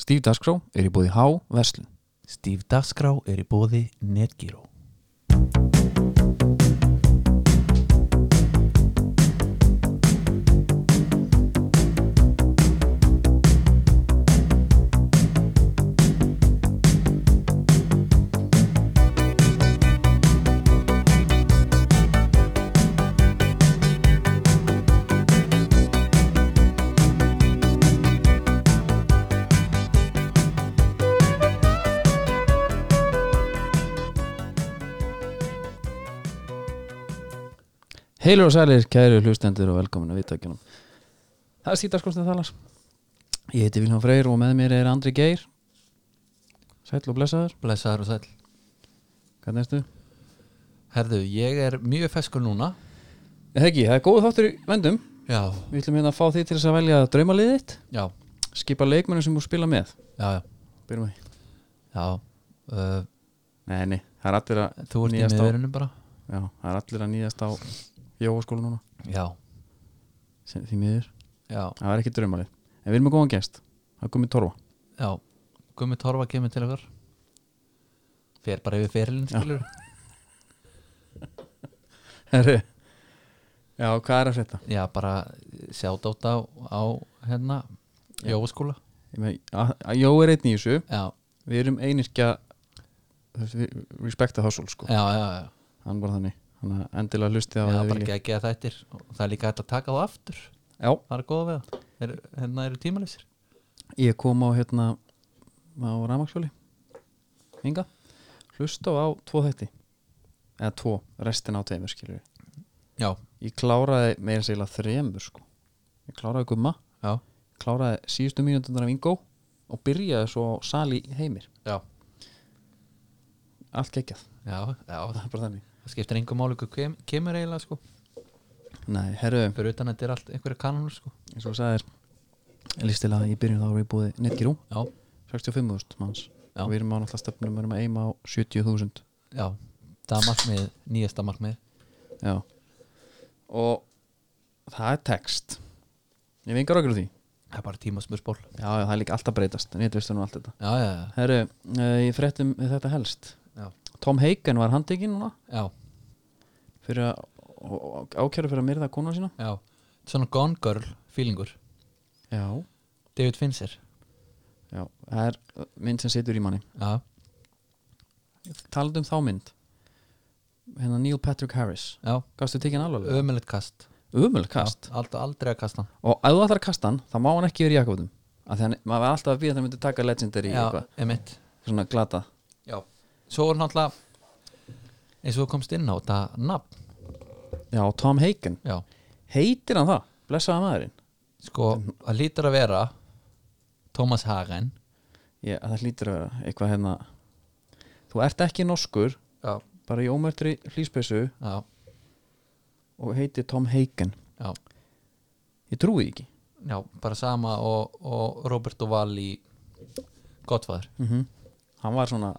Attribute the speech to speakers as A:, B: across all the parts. A: Stíf Daskró er í búði H. Veslun
B: Stíf Dasgrá er í bóði Netgyro
A: Heilur og sælir, kæru hlustendur og velkominu viðtækjunum Það er Stíf Daskró sem talar Ég heiti Vilhjón Freyr og með mér er Andri Geir Sæll og blessaður
B: Blessaður og sæl
A: Hvernig erstu?
B: Herðu, ég er mjög feskur núna
A: Það ekki, það er góð þáttur í vendum
B: Já,
A: Við ætlum hérna að fá þig til þess að velja draumaliðið þitt,
B: já,
A: skipa leikmennu sem þú spila með
B: já, já,
A: Byrjum við
B: já. Uh,
A: Nei, nei, það er allir að
B: Þú ert í
A: nýjast á
B: miðverunum bara
A: Já, það er allir að nýjast á Jóaskóla núna,
B: Já,
A: sem- því miður
B: já,
A: Það er ekki draumalið En við erum með góðan gest Það er komið Torfa
B: já Gummi Torfa kemur til okkar Fer bara yfir ferilin skilur
A: Herri Já, hvað er að frétta?
B: Já, bara sjádátt á, á hérna Jófaskóla
A: Ég með, að, að Jó er einn í þessu
B: Já,
A: Við erum einirkja Respekta household sko
B: já, já, já
A: Hann var þannig Hann endilega hlusti á
B: Já, bara ekki að geða þættir og það er líka hægt að taka þá aftur
A: Já,
B: það er góða við það er, hérna eru tímaleysir
A: ég kom á hérna á Ramaksfjöli Inga Hlusta á tvo þætti Eða tvo, restin á tveimur skilur við
B: já,
A: Ég kláraði meira segila þremur sko Ég kláraði gumma
B: já,
A: Kláraði síðustu mínútundar af Ingo Og byrjaði svo á sali heimir
B: já,
A: Allt geggjað
B: já, já.
A: Það er bara þannig
B: það skiptir engum máli hvað kem, kemur eiginlega sko
A: Nei, herru
B: fyrir utan að þetta er allt einhverja kanonur sko
A: eins og þú sagðir listilega í byrjun þá erum við búið Netgyrú
B: já,
A: 65.000 manns
B: Já.
A: og við erum á náttúrulega stefnum við erum að eima á 70.000
B: já, það er markmið nýjasta markmið
A: já og það er text ég vingar okkur úr því
B: það er bara tímasmurspól já,
A: já, já, það er líka alltaf breytast en ég veist um allt þetta
B: já, já,
A: herru, uh, ég fréttum þetta helst
B: já,
A: Tom Hagen var handikinn núna
B: já,
A: fyrir að og- og- ákæra fyrir að myrða konu sína
B: já. svona gone girl feelingur
A: já,
B: David Fincher
A: já, það er uh, mynd sem situr í manni
B: já,
A: talandi um þá mynd hérna Neil Patrick Harris
B: já,
A: gafstu tekinn alvarlega
B: ömulegt kast
A: umul kast
B: já, aldrei, aldrei að kasta hann.
A: og ef þú ætlar að kasta hann, þá má hann ekki vera í jakobum af því hann, maður er alltaf að býða að það myndi taka legendary
B: já,
A: eitthvað,
B: emitt
A: svona glata
B: Já, svo er náttúrulega eins og þú komst inn á þetta nafn,
A: já, Tom Hagen,
B: já,
A: heitir hann það blessaða maðurinn,
B: sko, það lítur að vera Thomas Hagen
A: ég, það hlýtur að vera eitthvað hérna þú ert ekki norskur,
B: Já,
A: bara í ómörtri hlýspeysu
B: já,
A: og heitir Tom Hagen
B: já,
A: ég trúi því ekki
B: já bara sama og, og Robert Duval í Godfather,
A: Mhm. hann var svona,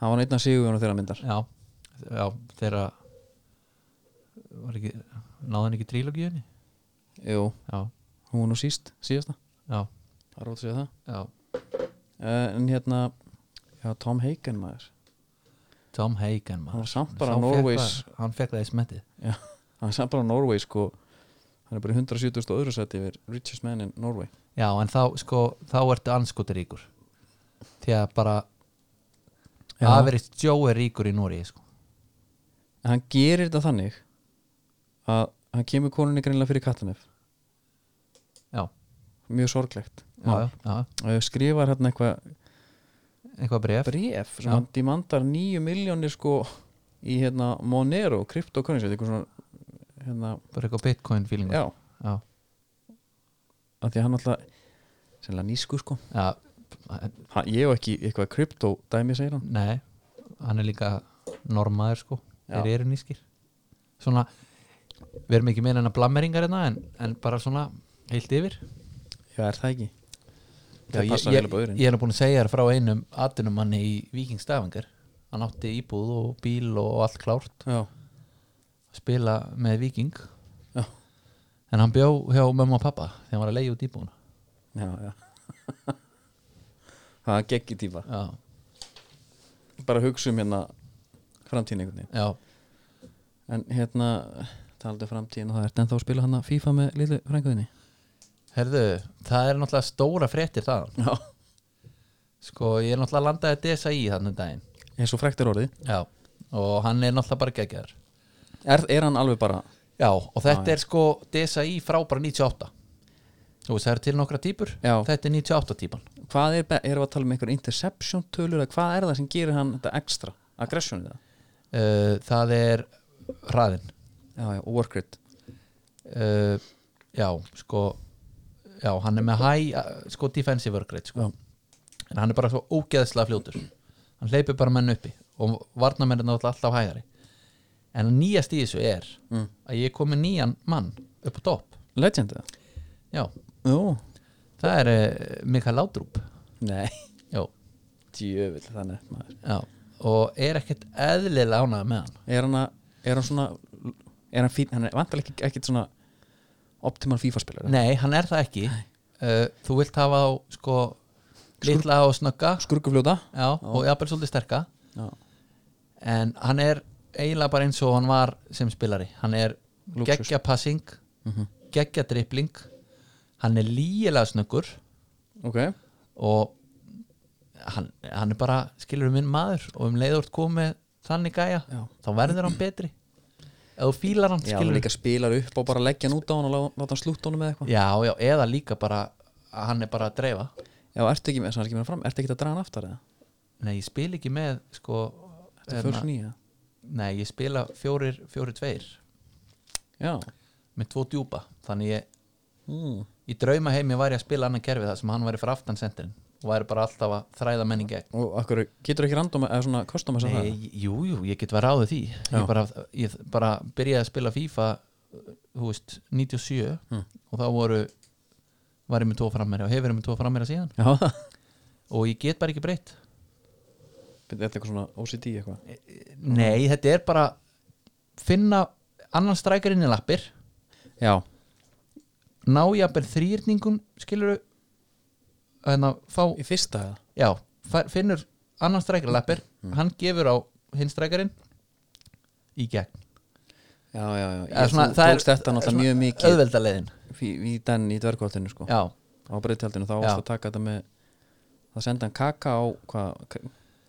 A: hann var einn af sigurjónu þeirra myndar
B: já já, þeirra var ekki, náðan ekki trílogíunni
A: jú,
B: já,
A: hún var nú síst, síðasta
B: já,
A: það er rót að segja það
B: já
A: uh, en hérna, já, Tom Hagen maður
B: Tom Hagen maður.
A: Hann var samt bara
B: Sá fékk
A: Norway's-
B: það- hann fekk það í smettið
A: Já, hann er samt bara Norway sko hann er bara í 170. öðru seti yfir richest man in Norway
B: Já, en þá, sko, þá ertu anskotir ríkur því að bara
A: Já.
B: Average Joe er ríkur í Nóri sko.
A: en hann gerir þetta þannig að hann kemur konunni greinlega fyrir kattanef
B: Já,
A: mjög sorglegt
B: já, já, já,
A: Uh, skrifar hérna eitthvað
B: eitthvað bref
A: bref sem
B: Já.
A: hann demandar 9 miljónir sko í hérna Monero, kryptokurrensi eitthvað svona hérna,
B: bara eitthvað bitcoin feeling
A: já,
B: já,
A: af því að hann alltaf sennilega nýsku sko
B: já
A: ha, ég hef ekki eitthvað krypto dæmi segir hann
B: nei, hann er líka normaður sko,
A: Já.
B: þeir eru nýskir svona við erum ekki meina en að blammeringar hérna en, en bara svona heilt yfir
A: já, er það ekki
B: Já,
A: það
B: ég,
A: passar
B: ég,
A: vel upp á öðrin
B: ég er nú búin að segja þér frá einum atunumanni í Víkingstafingar hann átti íbúð og bíl og allt klárt
A: já,
B: spila með Viking
A: Já.
B: en hann bjó hjá mömmu og pappa þegar hann var að leiða út íbúna
A: já, já það er geggi típa
B: já,
A: bara hugsa um hérna framtíðin einhvern veginn
B: já,
A: en hérna taldu framtíðin og það ert ennþá að spila hana FIFA með litlu frænguðinni
B: herðu það er náttúrulega stóra fréttir það
A: já,
B: sko, ég er náttúrulega landaði DSI þannig um daginn
A: eins og frekt er orðið
B: já, og hann er náttúrulega bara geggjaður
A: er, er hann alveg bara
B: já, og þetta er sko DSI frá bara 98 þú veist, það eru til nokkra típur
A: Já.
B: þetta er 98 típan
A: hvað er, be- erum við að tala um einhver interception tölur eða hvað er það sem gerir hann þetta extra aggression í það
B: uh, það er hraðin
A: já, já, og work rate
B: uh, já, sko já, hann er með high uh, sko defensive work rate, sko
A: Já.
B: en hann er bara svo ógeðslega fljótur hann hleypur bara menn uppi og varnamenn er náttúrulega alltaf hægari en að nýjast í þessu er
A: Mm.
B: að ég kom með nýjan mann upp á topp
A: legend eða?
B: já,
A: Jú,
B: það er uh, Mikael Ládrup
A: nei
B: já,
A: djöfull þannig maður
B: já, og er ekkert eðlilega ánað með hann
A: er hann, að, er hann svona er hann fín, hann er vantarlega ekki, ekkit svona optimal FIFA spilar
B: nei, hann er það ekki uh, þú vilt hafa á sko litla og snögga
A: skurkufljóta
B: já, og jafnvel svolítið sterka
A: já.
B: en hann er eiginlega bara eins og hann var sem spilari hann er
A: Lúxus. Mhm.
B: geggja passing geggja dribbling hann er lígilega snöggur
A: ok,
B: og hann, hann er bara skilur minn maður og um leiður komið þannig gæja
A: Já.
B: þá verður hann betri ef þú fílar hann
A: já,
B: skilur
A: hann líka spilar upp og bara leggja hann út á hann og lá- láta hann slútt honum með eitthvað
B: já, já, eða líka bara að hann er bara að dreifa
A: já, ertu ekki með, svona ekki með hann fram, ertu ekki að draga hann aftar eða
B: nei, ég spil ekki með sko,
A: þetta er
B: hérna,
A: fyrir nýja
B: nei, ég spila fjórir, fjórir tveir
A: já,
B: með tvo djúpa, þannig ég
A: mm.
B: í drauma heimi var ég að spila annan kerfi það sem hann væri fyrir aftan sendirinn og væri bara alltaf að þræða menning gegn
A: og akkur, getur ekki random eða svona custom að það
B: Nei, jú, jú, ég get verið ráðið því
A: Já.
B: ég bara, ég bara byrjaði að spila FIFA þú veist, 97
A: Mm.
B: og þá voru var ég með tvo frammeyra og hefur verið með tvo frammeyra síðan
A: já,
B: og ég get bara ekki breytt
A: þetta er eitthvað svona OCD eitthvað
B: Nei, þetta er bara finna annan strækar inn í lappir
A: já,
B: ná jafnvel þrýrningun skilur þannig að fá
A: í fyrsta eða
B: já, fær- finnur annan strækari lappir,
A: Mm.
B: hann gefur á hinn strækarin í gegn
A: já, já, já,
B: Eða
A: ég, svona, þú tókst þetta náttúrulega
B: svona
A: mjög mikið
B: auðvelda leiðin
A: í, í den í dvergoltinu sko
B: já,
A: á breytjaldinu þá
B: Já.
A: varst að taka þetta með það senda hann kaka á hvað k-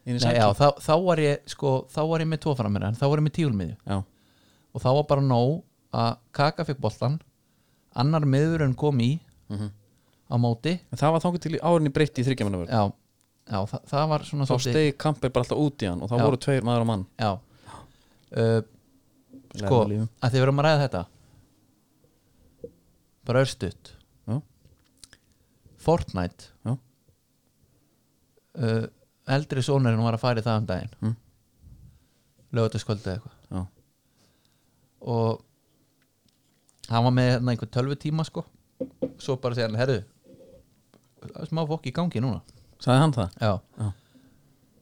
A: inn í
B: Nei,
A: sæti
B: já þá, þá var ég sko, þá var ég með tóframir en þá var ég með tíulmiðju
A: já.
B: og þá var bara nóg að kaka fikk boltan annar miður en kom í
A: Mhm.
B: á móti
A: En það var þangur til árinni breytti í þryggjamanavörð
B: já, já það, það var svona
A: þá
B: svolítið-
A: stegi kampir bara alltaf út í hann og þá
B: Já.
A: voru tveir maður og mann
B: já uh, sko,
A: Lærðu lífið.
B: að þið verðum að ræða þetta bara örstutt
A: Já.
B: Fortnite
A: Já.
B: uh, eldri sonurinn var að fara í það um daginn
A: Mm.
B: lögutaskvöldi eitthvað
A: já,
B: og hann var með hérna einhver tölvu tíma sko svo bara segja hann, herru það er smá fokk í gangi núna
A: sagði hann það?
B: Já,
A: Já.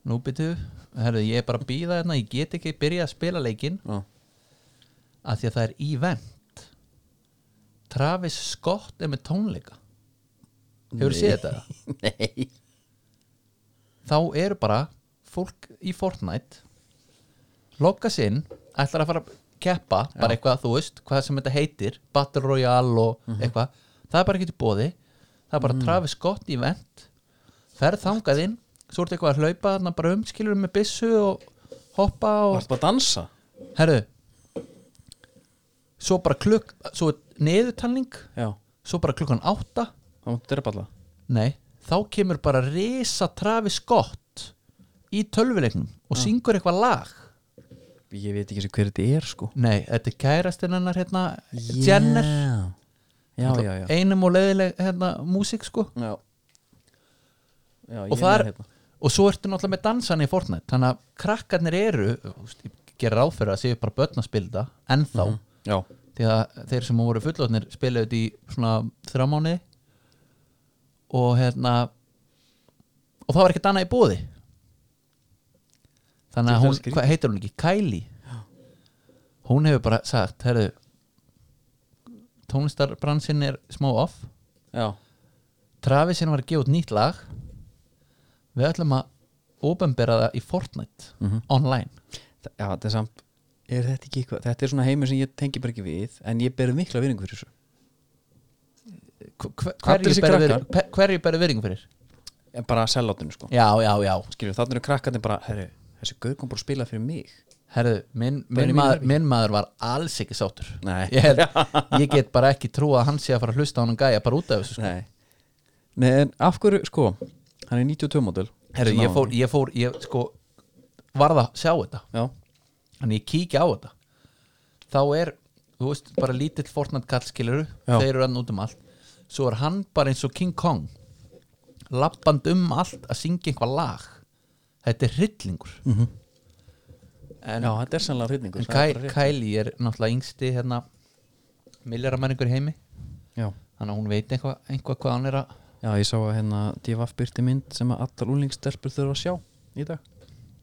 B: Nú byrju, herru, ég er bara að býða hérna Ég get ekki byrjað að spila leikinn
A: já,
B: að því að það er event Travis Scott er með tónleika
A: Nei.
B: Hefur séð þetta?
A: nei
B: Þá eru bara fólk í Fortnite Lokka sinn ætlar að fara að keppa bara eitthvað, þú veist, hvað sem þetta heitir Battle Royale og eitthvað Það er bara ekki til bóði Það er bara Travis Scott event Ferð þangað inn, svo ertu eitthvað að hlaupa þarna bara umskilur með byssu og hoppa og
A: varst bara að dansa?
B: Herru Svo bara klukk Svo neðutalning
A: já,
B: Svo bara klukkan átta
A: þá máttu derpalla
B: Nei, þá kemur bara Risa Travis Scott Í tölvuleiknum
A: Ah.
B: Og syngur eitthvað lag
A: ég veit ekki sem hver þetta er sko
B: Nei, þetta er kærastinn hennar hérna Jenner
A: já, já, já, já.
B: Einum og leiðileg hérna músík sko
A: já. Já, hérna.
B: Og það er Og svo ertu náttúrulega með dansan í Fortnite Þannig að krakkarnir eru þú veist, Ég gerir ráðfyrir að séu bara börn að spila þetta Ennþá mm
A: Mhm. já,
B: því að þeir sem voru fullotnir spilaði þetta í svona þrjá mánuði og hérna og það var ekkert annað í bóði þannig að
A: Þetta er
B: hún,
A: skrítið.
B: hvað heitir hún ekki? Kylie hún hefur bara sagt herðu tónlistarbransin er smá off
A: já,
B: Travisin var að gefa út nýtt lag við ætlum að openbera það í Fortnite
A: Mhm.
B: online
A: Þa- Já, þetta er samt er þetta, ekki, eitthvað- þetta er svona heimur sem ég tengi bara ekki við en ég ber mikla viðningu fyrir þessu
B: Hver- hver-
A: Allir
B: hverju
A: þessir
B: berðu
A: krakkar.
B: virðingu- pe- hverju berðu virðingu fyrir
A: en bara að sellátinu sko
B: já, já, já,
A: Skiljum, þannig eru krakkarnir bara, herru, þessi gaur kom bara að spila fyrir mig
B: herðu minn,
A: Benjamin
B: minn, maður,
A: Harvey.
B: minn maður var alls ekki sáttur
A: Nei.
B: ég, held, ég get bara ekki trú að hann sé að fara að hlusta á hann gæja bara út af þessu sko.
A: Nei. Nei, en af hverju, sko hann er 92 módel
B: herðu, ég fór, ég fór, ég sko varð að sjá þetta
A: Já,
B: þannig ég kíkja á þetta þá er, þú veist, bara lítill Fortnite kall skiluru,
A: Já.
B: þeir eru hann út um allt svo er hann bara eins og King Kong lappand um allt að syngja einhvað lag þetta er hryllingur
A: en, já þetta er sannlega hrýtningur
B: en Ky- Kylie er náttúrulega yngsti hérna, milljaramæringur í heimi
A: já.
B: þannig að hún veit eitthvað einhva hvað hann er að
A: já, ég sá að hérna DFF byrti mynd sem að allar úlingsstelpur þurfa að sjá í dag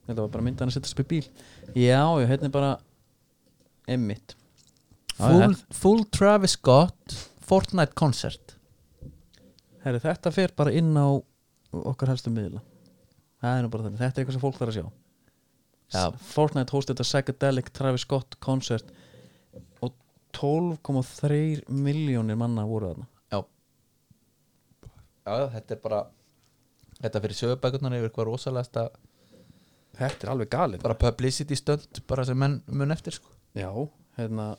A: Þetta var bara mynd að hann að setja upp í bíl Já, já, hérna er bara emmitt
B: full, full Travis Scott Fortnite concert
A: Herri, þetta fer bara inn á okkar helstu miðla Það er nú bara þannig, þetta er eitthvað sem fólk þarf að sjá
B: Já.
A: S- Fortnite hosted a psychedelic Travis Scott concert og 12,3 miljónir manna voru þarna
B: já. já já, þetta er bara þetta fyrir sögubækurnar yfir eitthvað rosalegasta
A: Þetta er alveg galið
B: bara publicity stönd bara sem menn mun eftir sko
A: Já, hérna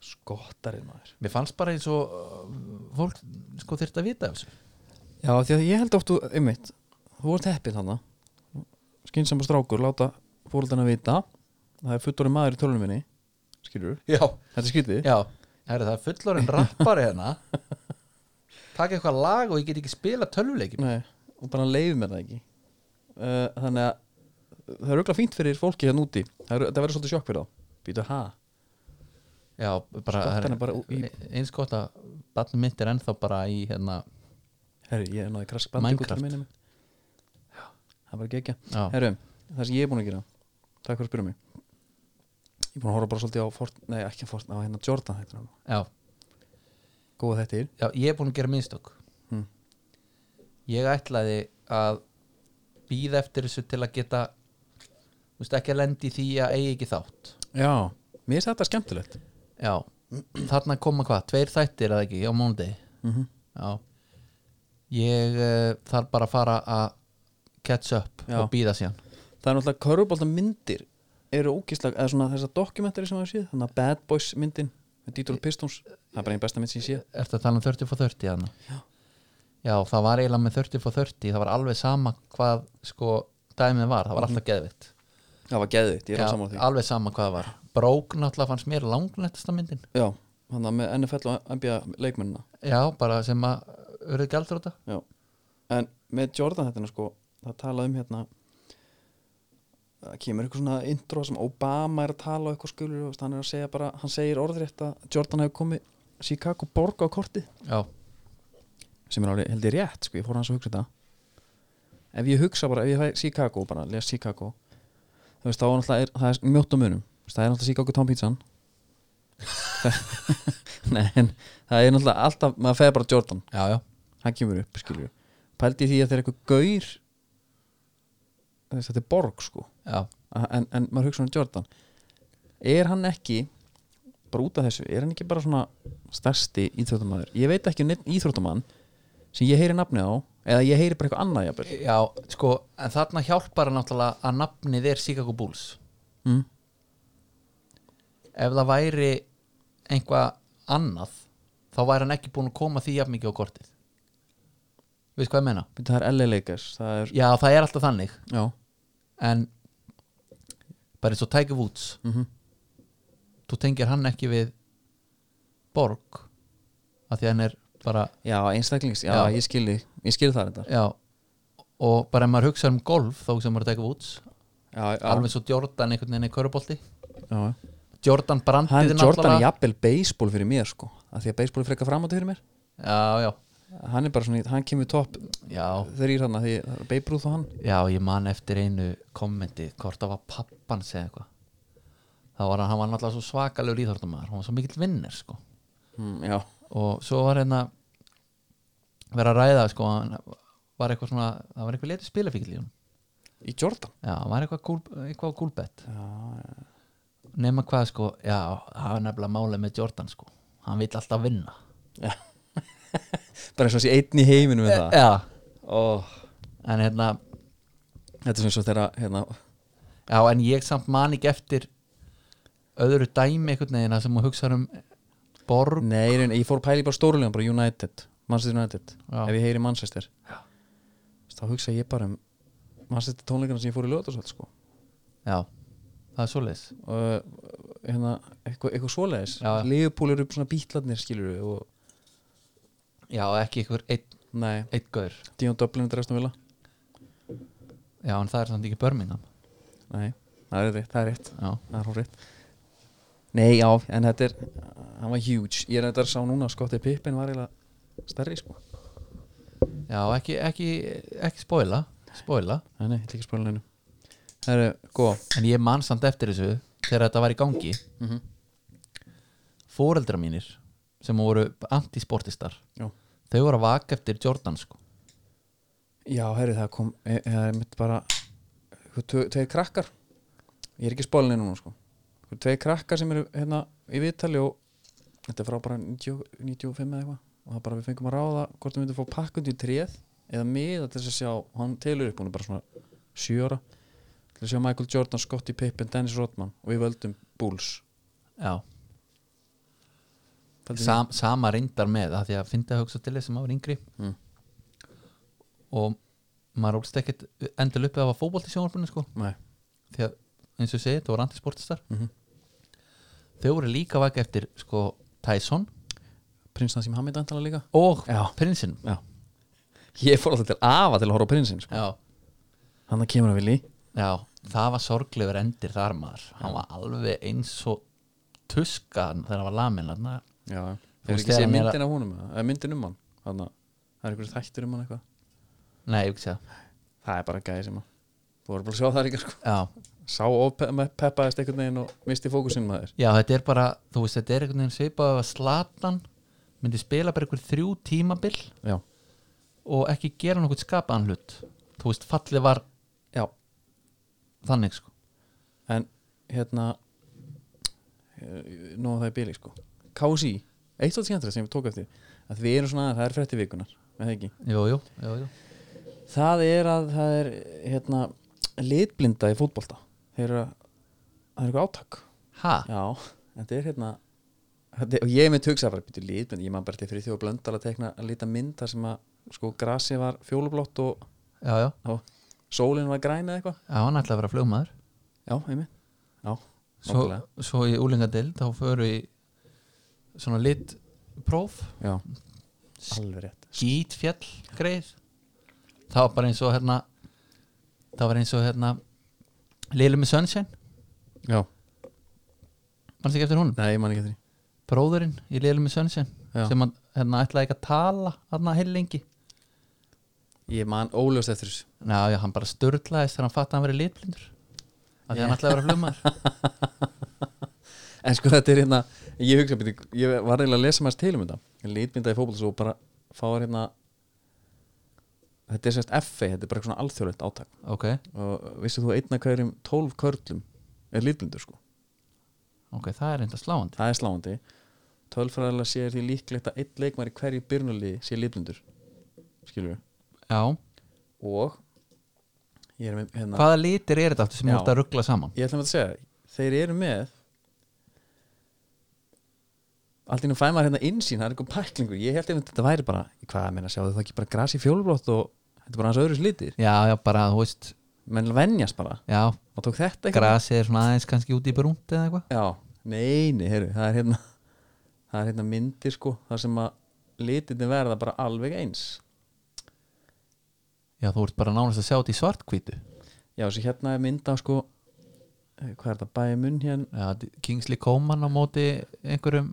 A: skottarinn maður
B: mér fannst bara eins og uh, fólk sko þyrfti að vita af þessu
A: Já, því að ég held oft þú- einmitt, þú vorst heppin þannig skynsam og strákur, láta fóröldana vita það er fullorinn maður í tölunum minni skilur,
B: já,
A: þetta er skytið
B: já Heru, það er fullorinn rappari hérna taka eitthvað lag og ég get ekki spila tölvuleikin
A: Nei, og bara leiði mér það ekki uh, Þannig að það er auðvitað fínt fyrir fólki hérna úti Það, er, það verður svolítið sjokk fyrir þá Býtu ha
B: já, bara,
A: Skottan
B: það
A: er bara eh, í-
B: ein- eins gott að barnum mitt er ennþá bara í hérna
A: Herru, ég er náði krask
B: Minecraft.
A: minni minn. Já, það er bara gegja
B: já,
A: Herru, það sem ég er búin að gera Takk fyrir að spyrja mig Ég er búin að horfa bara svolítið á Fort, Nei, ekki á Fort, á hérna Jordan hættur hann
B: já,
A: Góða þetta er
B: já, ég er búin að gera minnstök
A: Hmm.
B: ég ætlaði að býða eftir þessu til að geta þú veist ekki að lendi því að eigi ekki þátt
A: Já, mér finnst þetta skemmtilegt
B: Já, þarna koma hvað, tveir þættir eða ekki á mánudegi
A: mm -hmm.
B: Já Ég uh, þarf bara að fara að catch up
A: Já.
B: og býða síðan
A: Það er náttúrulega körfubólta myndir eru ógíslega, eða svona þessar dokumentari sem við séð, þannig að Bad Boys myndin með Detroit Pistons, það er bara einn besta mynd sem ég séð
B: Ertu að tala um 30 for 30 hana?
A: Já.
B: Já, það var eiginlega með 30 for 30 það var alveg sama hvað sko dæmið var, það
A: Mhm.
B: var alltaf geðvitt
A: Það var geðvitt, ég er á saman því
B: alveg sama hvað það var Brók náttúrulega fannst mér langnettasta myndin
A: Já, hann að með NFL og NBA leikmennina
B: Já, bara sem að urðu gældur þetta
A: Já. En með Jordan þetta sko, það tala um hérna það kemur eitthvað svona intro sem Obama er að tala og eitthvað skilur og hann er að segja bara, hann segir orðrétt að Jordan hefur komið Chicago borg á kortið
B: Já,
A: sem er alveg held ég rétt sko, ég fór hans að hugsa þetta ef ég hugsa bara, ef ég fæ Chicago bara, les Chicago þú veist, þá er náttúrulega er, það er mjótt á munum Þú veist, það er náttúrulega Chicago Tom Pizzan nei, en það er náttúrulega alltaf, maður feði bara Jordan
B: já, já
A: hann kemur upp, skilur við pældi í því að það er eitthvað gaur þú veist, þetta er borg sko
B: Já,
A: A- en, en maður hugsa um Jordan er hann ekki bara út af þessu, er hann ekki bara svona stærsti íþróttamæður, ég veit ekki um neitt íþróttamann sem ég heyri nafnið á eða ég heyri bara eitthvað annað jafnvel
B: já sko, en þarna hjálpar hann náttúrulega að nafnið er Chicago Bulls
A: mm.
B: ef það væri einhvað annað þá væri hann ekki búin að koma því jafn mikið á kortið veist hvað ég meina?
A: Bíddu, það er LA Lakers það er,
B: já það er alltaf þannig
A: já,
B: en bara eins og Tiger Woods
A: mm
B: þú tengir hann ekki við Borg af því hann er bara
A: já einstaklings, já,
B: Já.
A: ég skilji ég skilji það reyndar
B: já, og bara ef maður hugsa um golf þá hugsa maður Tiger Woods
A: já, já,
B: alveg eins og Jordan einhvern veginn í körubolti
A: já, já.
B: Jordan brandið
A: hann Jordan er jafnvel baseball fyrir mér sko, af því að baseball er frekar framáttu fyrir mér
B: já, já,
A: hann er bara svona, í- hann kemur topp
B: já
A: þrýr hann að því, það er Babe Ruth og hann
B: Já, ég man eftir einu kommenti hvort það var pappan segja eitthvað þá var hann, hann var náttúrulega svo svakalegur íþórtumæður hann var svo mikill vinnir sko
A: mm, já,
B: og svo var hérna verið að ræða sko hann var eitthvað svona, það var eitthvað leitur spilafíkil í hún
A: Í Jordan
B: já, það var eitthvað, gúl, eitthvað gúlbett
A: Já, já.
B: nema hvað sko, já, það var nefnilega málið með Jordan sko, hann vill alltaf vinna
A: Bara eins og sé einn í heiminum með það
B: já,
A: Ó,
B: en hérna
A: Þetta er sem svo þeirra hérna,
B: já, en ég samt man ekki eftir öðru dæmi einhvern veginn þar sem hún hugsa um borg
A: Nei, ég, ég fór að pæla í bara stórulega bara United, Manchester United
B: Já.
A: Ef ég heyri Manchester
B: Já.
A: Þá hugsa ég bara um Manchester tónleikana sem ég fór í lögatarsvöld sko.
B: já, það er svoleiðis
A: og hérna, eitthvað, eitthvað svoleiðis
B: Já.
A: Leifupúl eru svona bítlarnir skilur við og,
B: já, ekki einhver einn
A: Nei,
B: ein gaur
A: Díon Dublin er restum vilja
B: já, en það er samt ekki börmingan
A: Nei, það er rétt, það er rétt
B: já,
A: það er hórið Nei, já, en þetta er hann var huge, ég er þetta sá núna að Scottie Pippen var eiginlega stærri sko
B: já ekki, ekki, ekki spoila spoila,
A: Nei, nei, ég ætla ekki að spóla neinu Það er góð
B: en ég man samt eftir þessu þegar þetta var í gangi
A: mm -hmm.
B: foreldra mínir sem voru antisportistar
A: Já,
B: þau voru að vaka eftir Jordan sko
A: já herri, það kom e- e- það er mitt bara sko, tve- tveir krakkar ég er ekki að spóla neinu núna sko Sko, tveir krakkar sem eru hérna í viðtali og þetta er frá bara 90, 95 eða eitthvað og það bara við fengum að ráða hvort við myndum að fá pakkundi í tréð eða miða til þess að sjá hann telur upp, hún er bara svona 7 ára til að sjá Michael Jordan, Scottie Pippen, Dennis Rodman og við völdum Bulls
B: já,
A: Fældi
B: Sam, sama reyndar með að því að fyndi að hugsa til þess að maður er yngri
A: Mm.
B: og maður ólst ekkert endur uppið að hafa fótbolt í sjónvarpunni sko
A: mér? Nei,
B: því að eins og ég segi, þetta voru antisportistar
A: mm
B: þau voru líka vaka eftir sko Tyson
A: prins Nassim Hamid antala líka
B: og
A: Já.
B: prinsinn
A: Já Ég fór alltaf til afa til að horfa á prinsinn sko.
B: já.
A: Hann að kemur að vilji
B: já, það var sorglegur endir þar maður hann var alveg eins og tuska þegar hann var lamin þarna.
A: Já
B: Þú
A: Þegar
B: veist,
A: ekki sé
B: þegar hann er að-
A: myndin af honum eða- eða myndin um hann Þannig að það er einhverjum þættur um hann eitthvað
B: nei, ég ekki segja
A: Það er bara gæði sem að Þú voru bara að sjá það líka sko
B: já.
A: Sá og pe peppaðist einhvern veginn og misti fókusinn maður
B: já, þetta er bara þú veist, þetta er einhvern veginn svipað ef að Slatan myndi spila bara einhver þrjú tímabil
A: Já
B: og ekki gera nokkuð skapaðan hlut þú veist, fallið var
A: Já
B: þannig sko
A: En hérna eh, Nóða það er bíli sko KSI Eitt svolítið skemmtrið sem ég tók eftir að Við erum svona aðeins, það er frétti vikunar Er það ekki?
B: jú, jú, jú, jú.
A: Það er að það er hérna litblinda í fótbolta þeir eru að það er eitthvað átak
B: ha,
A: Já, þetta er hérna þetta er, og ég myndi hugsa bara byrju litblinda ég man bara til fyrir því að blöndal að tekna að lita mynd þar sem að sko grasi var fjólublátt og,
B: já, já,
A: og sólin var græn eða eitthvað
B: já hann ætlaði að vera flugmaður
A: Já, einmitt Já,
B: svo,
A: nákvæmlega.
B: svo í úlingadeild þá förum við í svona lit próf,
A: Já, alveg rétt
B: skítfjall greið, það var bara eins og hérna það var eins og hérna Lilum með Sunshine,
A: Já,
B: mannst ekki eftir hún
A: nei, ég man ekki eftir því
B: bróðurinn í Lilum með Sunshine
A: Já.
B: sem hann hérna, ætlaði ekki að tala hérna heilengi
A: Ég man óljóst eftir þessu
B: Já, já, hann bara störlaðist þegar hann fatt að hann verið litblindur af því að hann ætlaði að vera flugmaður
A: En sko þetta er hérna Ég hugsa byrju, ég var eiginlega að lesa maður til um þetta Litblinda í fótbolta svo bara fáar hérna Þetta er sérst FA, þetta er bara eitthvað svona alþjóðlegt átak
B: Ok,
A: og vissið þú að einna hverjum 12 körlum er litblindur sko
B: ok, það er enda sláandi
A: það er sláandi tölfræðilega sé því líklegt að einn leikmar í hverju byrnulíði sé litblindur skilur við
B: Já,
A: og ég er með hérna
B: hvaða litir er þetta aftur sem
A: Já.
B: þú ert að ruggla saman?
A: ég ætlum að segja, þeir eru með allt í nú fæði maður hérna innsýn, það er eitthvað pæklingur ég held einmitt að þetta væri bara, hvað að minna sjáðu það ekki bara grasi fjólblótt og þetta er bara aðeins öðru slitir
B: Já, já, bara, þú veist,
A: menn venjast bara,
B: já,
A: og tók þetta eitthvað
B: grasið er svona aðeins kannski úti í brúnt eða eitthvað
A: já, nei, nei, heyrðu það er hérna, það er hérna myndir sko, þar sem að litinni verða bara alveg eins
B: Já, þú ert bara nánast að sjá þetta í svartkvítu
A: já, þessi hérna er mynda sko eh, hvað er þetta, bæði munn hérna
B: Já, d- Kingsley Coman á móti einhverjum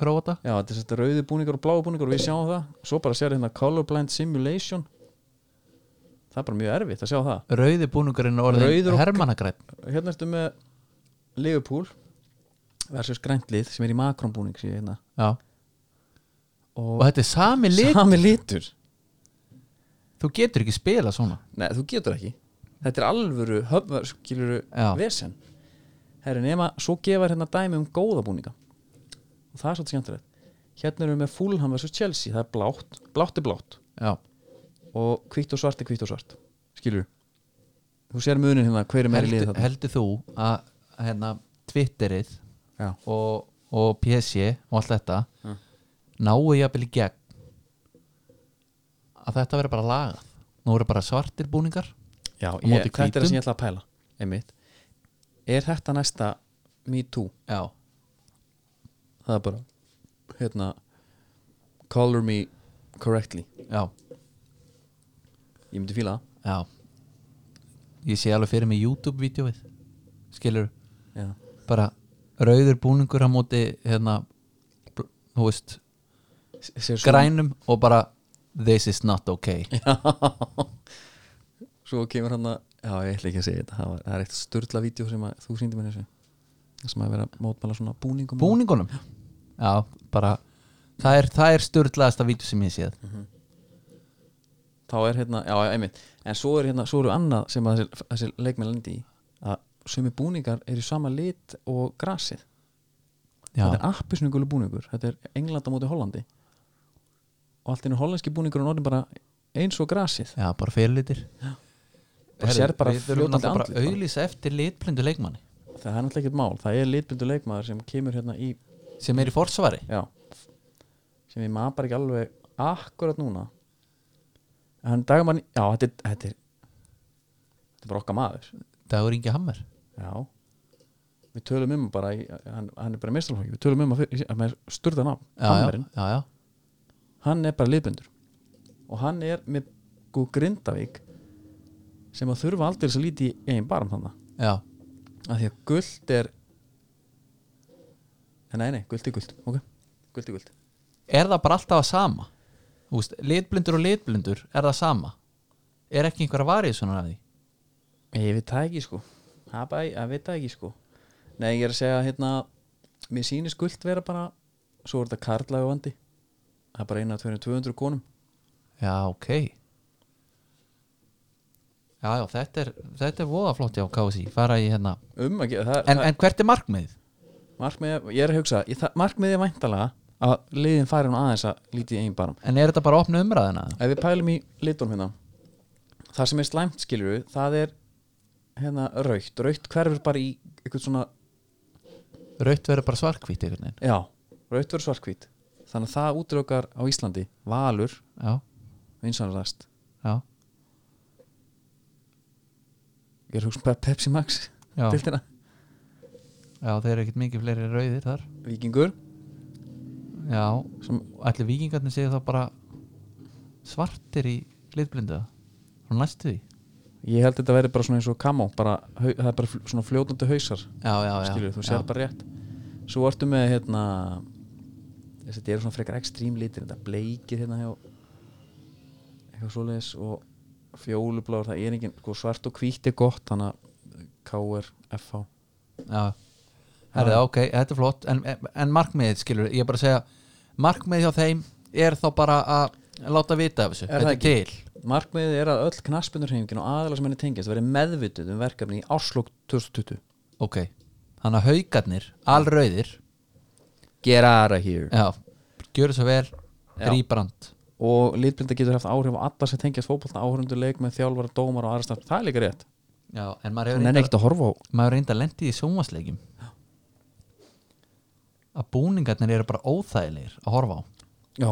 B: króta
A: Já, þetta er þetta rauði búningur og bláu búningur og við sjáum það, svo bara sér hérna colorblind simulation það er bara mjög erfitt að sjá það
B: Rauði búnungurinn orðin
A: Rauður og-
B: hermannagræn
A: hérna ertu með Liverpool versus græntlið sem er í makronbúning sé ég hérna.
B: Já,
A: og
B: og þetta er sami lit
A: sami litur
B: þú getur ekki spila svona
A: Nei, þú getur ekki Þetta er alvöru höfnarskiluru
B: Já.
A: vesen Herri, nema, svo gefar hérna dæmi um góða búninga og það er svolítið skemmtilegt Hérna erum við með Fulham vs Chelsea það er blátt, blátt er blátt
B: já,
A: og hvítt og svart er hvítt og svart skilur Þú sér munin hérna, hver er meiri lið
B: heldur,
A: þarna
B: heldur þú að hérna Twitterið
A: Já.
B: og, og PSG og allt þetta náu jafnvel í gegn að þetta verður bara lagað nú eru bara svartir búningar
A: Já,
B: á
A: ég,
B: móti
A: þetta er það
B: hvítum.
A: sem ég ætla að pæla einmitt. Er þetta næsta Me Too?
B: já,
A: Það er bara hérna Color me correctly
B: já,
A: Ég myndi fíla það
B: já ég sé alveg fyrir mig YouTube-vídeóið skilur
A: Já.
B: bara rauður búningur á móti hérna bl- þú veist,
A: S- sér svo-
B: grænum og bara this is not okay
A: Já. Svo kemur hann að Já, ég ætla ekki að segja þetta Það, var, það er eitt sturla vídeo sem að þú sýndi mér þessu Það sem að vera að mótmæla svona búningum
B: búningunum já, bara það er, það er störtlaðasta vídeo sem ég séð
A: Þá er hérna, já, já, einmitt En svo er hérna, svo eru annað sem að þessi, þessi leikmenn lendi í að sumi búningar eru í sama lit og grasið
B: já,
A: Þetta er appisnugulu búningur Þetta er England á móti Hollandi og allt einu hollenski búningur og orðin bara eins og grasið
B: já bara fyrirlitir
A: Bara sér bara
B: við þurfum
A: fljótandi
B: náttúrulega bara
A: andlit
B: að
A: bara.
B: auðlýsa eftir litblindu leikmanni
A: það er náttúrulega ekkert mál, það er litbundu leikmaður sem kemur hérna í
B: sem er í forsvari
A: já, sem ég maður bara ekki alveg akkurat núna en dagamann, já þetta er þetta er, þetta er bara okkar maður
B: Dagur Ingi Hammer
A: já við tölum um bara, í, hann, hann er bara mestalfólki við tölum um að, fyrir- að maður sturða ná
B: já, já, já, já,
A: hann er bara liðbundur og hann er með góð grindavík sem að þurfa aldrei þess að líti í einn barm þannig
B: já,
A: að því að guld er nei nei, guld er guld ok, guld er guld
B: er það bara alltaf að sama Þú veist, litblindur og litblindur er það sama er ekki einhver að varja svona að því
A: Ég veit það ekki sko Það er bara- ég veit það ekki sko Nei, ég er að segja hérna Mér sýnir skuld vera bara Svo er þetta karlægu vandi Það er bara eina af 200 konum
B: já, ok já, já, þetta er þetta er voða flott já, Kási, fara í hérna
A: Um að gera það,
B: en,
A: það
B: en hvert er markmiðið?
A: markmið, Ég er að hugsa ég, það, Markmiðið er væntalega að liðin fari hún aðeins að lítið einn barum
B: En er þetta bara að opna umræðina?
A: Ef við pælum í litunum hérna Það sem er slæmt skilur við Það er hérna raukt Raukt hverfur bara í eitthvað svona
B: Raut verður bara svarkvít einhvern veginn
A: Já, raukt verður svarkvít Þannig að það útlökar á Íslandi Valur,
B: Já,
A: vinsanræst
B: já,
A: Ég er að hugsa um bara Pepsi Max
B: já,
A: Dildina
B: já þeir eru ekkert mikið fleiri rauðir þar
A: Víkingur
B: Já,
A: sem,
B: allir vikingarnir séu þá bara svartir í litblindu Frá næstu því
A: Ég held þetta verði bara svona eins og kamó bara, hau, Það er bara fl svona fljótandi hausar
B: Já, já, já
A: skilur, Þú
B: já.
A: sér bara rétt Svo ertu með hérna þessi, Þetta eru svona frekar ekstrím litir Þetta bleikir hérna hjá Eitthvað svoleiðis og fjólubláður Það er engin sko, svart og hvítt er gott Þannig að KR, FH
B: Já, Herðu, ok, þetta er flott En, en markmiðið skilur, ég er bara að segja Markmiðið hjá þeim er þá bara að láta vita af þessu
A: Er
B: Þetta
A: það
B: er til
A: Markmiðið er að öll knaspundurheimingin og aðalega sem henni tengist verði meðvituð um verkefni í árslok 2020
B: Ok, þannig að haugarnir, alrauðir
A: Get out of here
B: Já, gjöru svo vel,
A: Já.
B: rýbrand
A: og litblinda getur haft áhrif á alla sem tengjast fótbolta áhörundu leik með þjálfara, dómar og aðra starf það er líka rétt,
B: Já, en maður
A: hún
B: hefur
A: er
B: reyndar-
A: ekkert að horfa á
B: maður reynda að lendi í sjónvarsleikjum að búningarnir eru bara óþægilegir að horfa á
A: já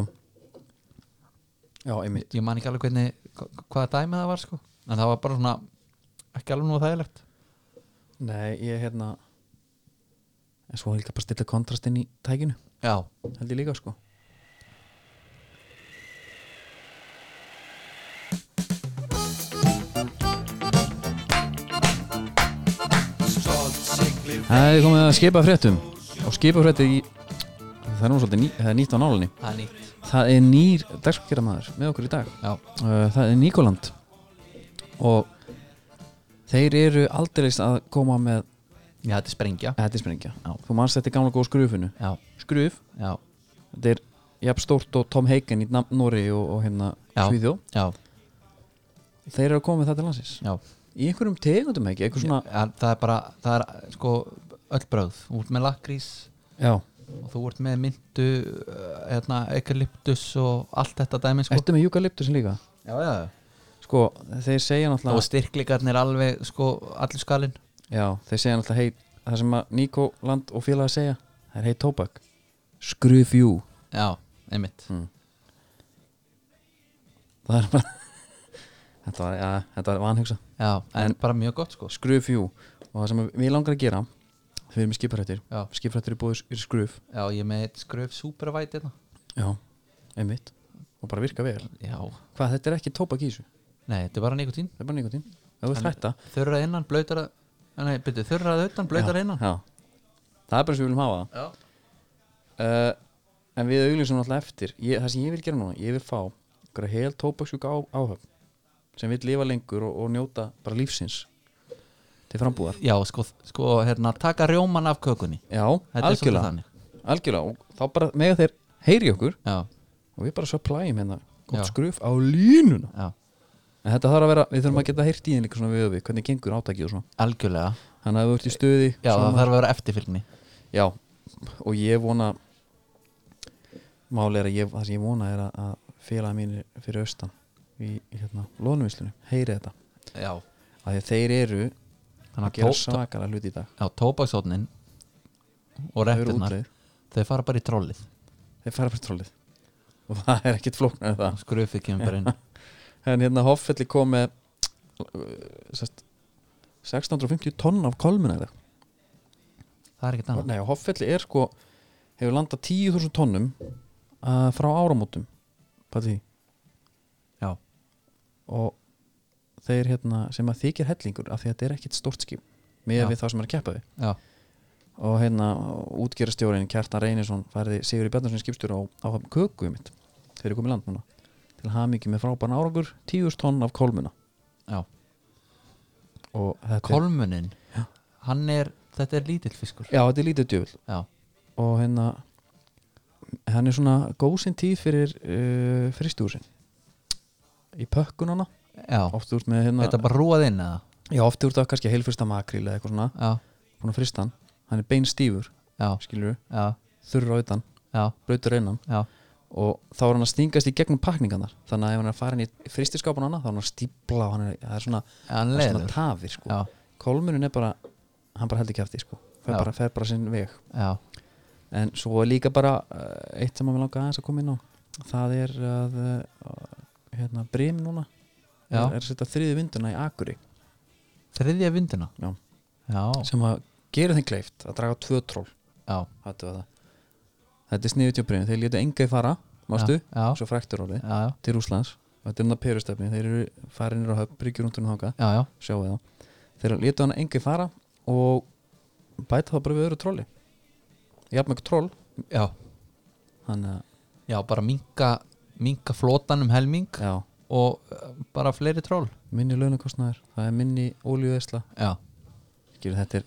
A: já, einmitt
B: ég man ekki alveg hvernig hva- hvaða dæmi það var sko en það var bara svona ekki alveg nú þægilegt
A: nei, ég hérna en svo er líka bara að stilla kontrastinn í tækinu
B: já,
A: held ég líka sko Það er komið að skipa fréttum og skipa fréttum í það er nú svolítið ný, það er nýtt á nálinni
B: það er nýtt
A: Það er nýr dagskrafgerðamaður með okkur í dag
B: já,
A: Uh, Það er Nikoland og þeir eru aldrei að koma með eh,
B: já þetta er sprengja
A: hættisprengja
B: Já.
A: Þú manst þetta í gamla góð skrufinu
B: já,
A: Skruf,
B: já,
A: þetta er jafn stórt og Tom Hagen í Nam- Noregi og, og hérna
B: Já.
A: Svíðjó
B: já,
A: þeir eru að koma með það til landsins
B: já
A: í einhverjum tegundum ekki, eitthvað svona
B: En það er bara, það er sko öll bröð, þú ert með lakrís
A: já,
B: og þú ert með myndu eh, hérna, eukalyptus og allt þetta dæmi sko
A: ertu með júkaliptusin líka
B: já, já.
A: sko, þeir segja
B: og
A: náttúrulega
B: styrklingarnir alveg sko allir skalinn
A: já, þeir segja náttúrulega heit það sem að Nico Land og félaga segja það er heit tóbak skrufjú,
B: já, einmitt
A: það er bara þetta var, ja, þetta var vanhugsa
B: já, en, bara mjög gott sko
A: skrufjú og það sem við langar að gera við erum með skiparættir
B: já,
A: skiparættir er búið í skruf
B: já ég er með eitt skröf supervæt hérna
A: já, einmitt og bara virka vel
B: já,
A: hvað, þetta er ekki tóbak í þessu
B: nei, þetta er bara nikotín
A: það er bara nikotín ef þú vilt
B: Hann-
A: hætta
B: þurrað innan, blöytar að nei, byrju, þurrað utan, blöytar innan
A: já. það er bara sem við viljum hafa það
B: já,
A: uh, en við auglýsum alltaf eftir ég, það sem ég vil gera núna, ég vil fá einhverja hel tóbaksjúka á, áhöfn sem vil lifa lengur og, og njóta bara lífsins til frambúðar
B: já sko, sko hérna, taka rjóman af kökunni
A: já,
B: Þetta er svolítið
A: algjörlega,
B: þannig.
A: algjörlega og þá bara mega þeir heyri okkur
B: já,
A: og við bara supplyum hérna gott
B: Já.
A: skruf á línuna
B: já,
A: en þetta þarf að vera, við þurfum að geta heyrt í þeim líka svona við og við, hvernig gengur átakið og svona
B: algjörlega
A: hann hafði vart í stuði
B: já,
A: svona-
B: það þarf að vera eftirfylgni
A: Já, og ég vona Máli er að ég, það sem ég vona er að- að félagi mínir fyrir austan í í, hérna, lónumislunum, heyri þetta
B: já,
A: af því að þeir eru að
B: þannig
A: gera
B: að tó,
A: svakara hluti í dag
B: Já, tóbaksótnin og
A: Þau eru
B: reptirnar,
A: útleið,
B: þau fara bara í trollið
A: þeir fara bara trólið og það er ekkit flóknar það
B: skrufið kemur bara inn
A: en hérna Hoffelli kom með uh, sest, 1650 tonn af kolmunar
B: það er ekkert annað
A: Nei, og Hoffelli er sko hefur landað 10.000 tonnum uh, frá áramótum Patti
B: Já.
A: og þeir hérna sem að þykir hellingur af því að þetta er ekkit stórt skip með
B: Já.
A: við þá sem er að keppa við
B: já,
A: og hérna útgerastjórin Kjartan Reynisson færði Sigur Bjarnarsson skipstjóra á, á köku mitt þeir eru komið land núna til hamingi með frábæran árangur 10.000 tonn af kolmuna
B: já.
A: og þetta er-
B: kolmunin
A: Já.
B: hann er, þetta er lítill fiskur
A: Já, þetta er lítið djöfull
B: já,
A: og hérna hann er svona góðsinn tíð fyrir uh, fristúsin í pökkunana
B: já.
A: oft úr með hérna
B: þetta er bara rúað inn eða
A: já, oft úr það kannski heilfyrsta makril eða eitthvað svona
B: já,
A: búin að frista hann hann er beinstífur,
B: já,
A: skilur við
B: já,
A: þurra á utan,
B: já,
A: blöytur innan
B: já,
A: og þá er hann að stingast í gegnum pakningarnar þannig að ef hann er að fara inn í fristiskápun hana þá er hann að stípla og hann er, það er svona,
B: Já, hann
A: það er svona
B: leður
A: tafir sko.
B: já,
A: kolmunin er bara, hann bara heldur kjafti sko. fer,
B: Já.
A: bara, fer bara sinn veg
B: já,
A: en svo er líka bara eh, eitt sem að við langa aðeins að koma inn á það er að eh, hérna, Brim núna
B: já
A: er, er að setja þriði vinduna í Akuri
B: þriðja vinduna
A: Já.
B: já,
A: sem að gera þeim kleift að draga tvö troll
B: já,
A: hattu að það þetta er sniðut hjá Brim, þeir létu enga í fara mástu,
B: já, já,
A: svo fræktur orðið
B: já, já,
A: til Rúslands, og þetta er hann að perustefni þeir eru farinir á höfn, bryggjur undan þáka
B: já, já.
A: sjáu það, þeir létu hann enga í fara og bæta það bara við öðru trolli jafn með troll
B: já.
A: þannig að,
B: já bara minka minka flotan um helming
A: já,
B: og uh, bara fleiri troll
A: minni launakostnaður það er minni ólíuðisla
B: já
A: Skilur, þetta er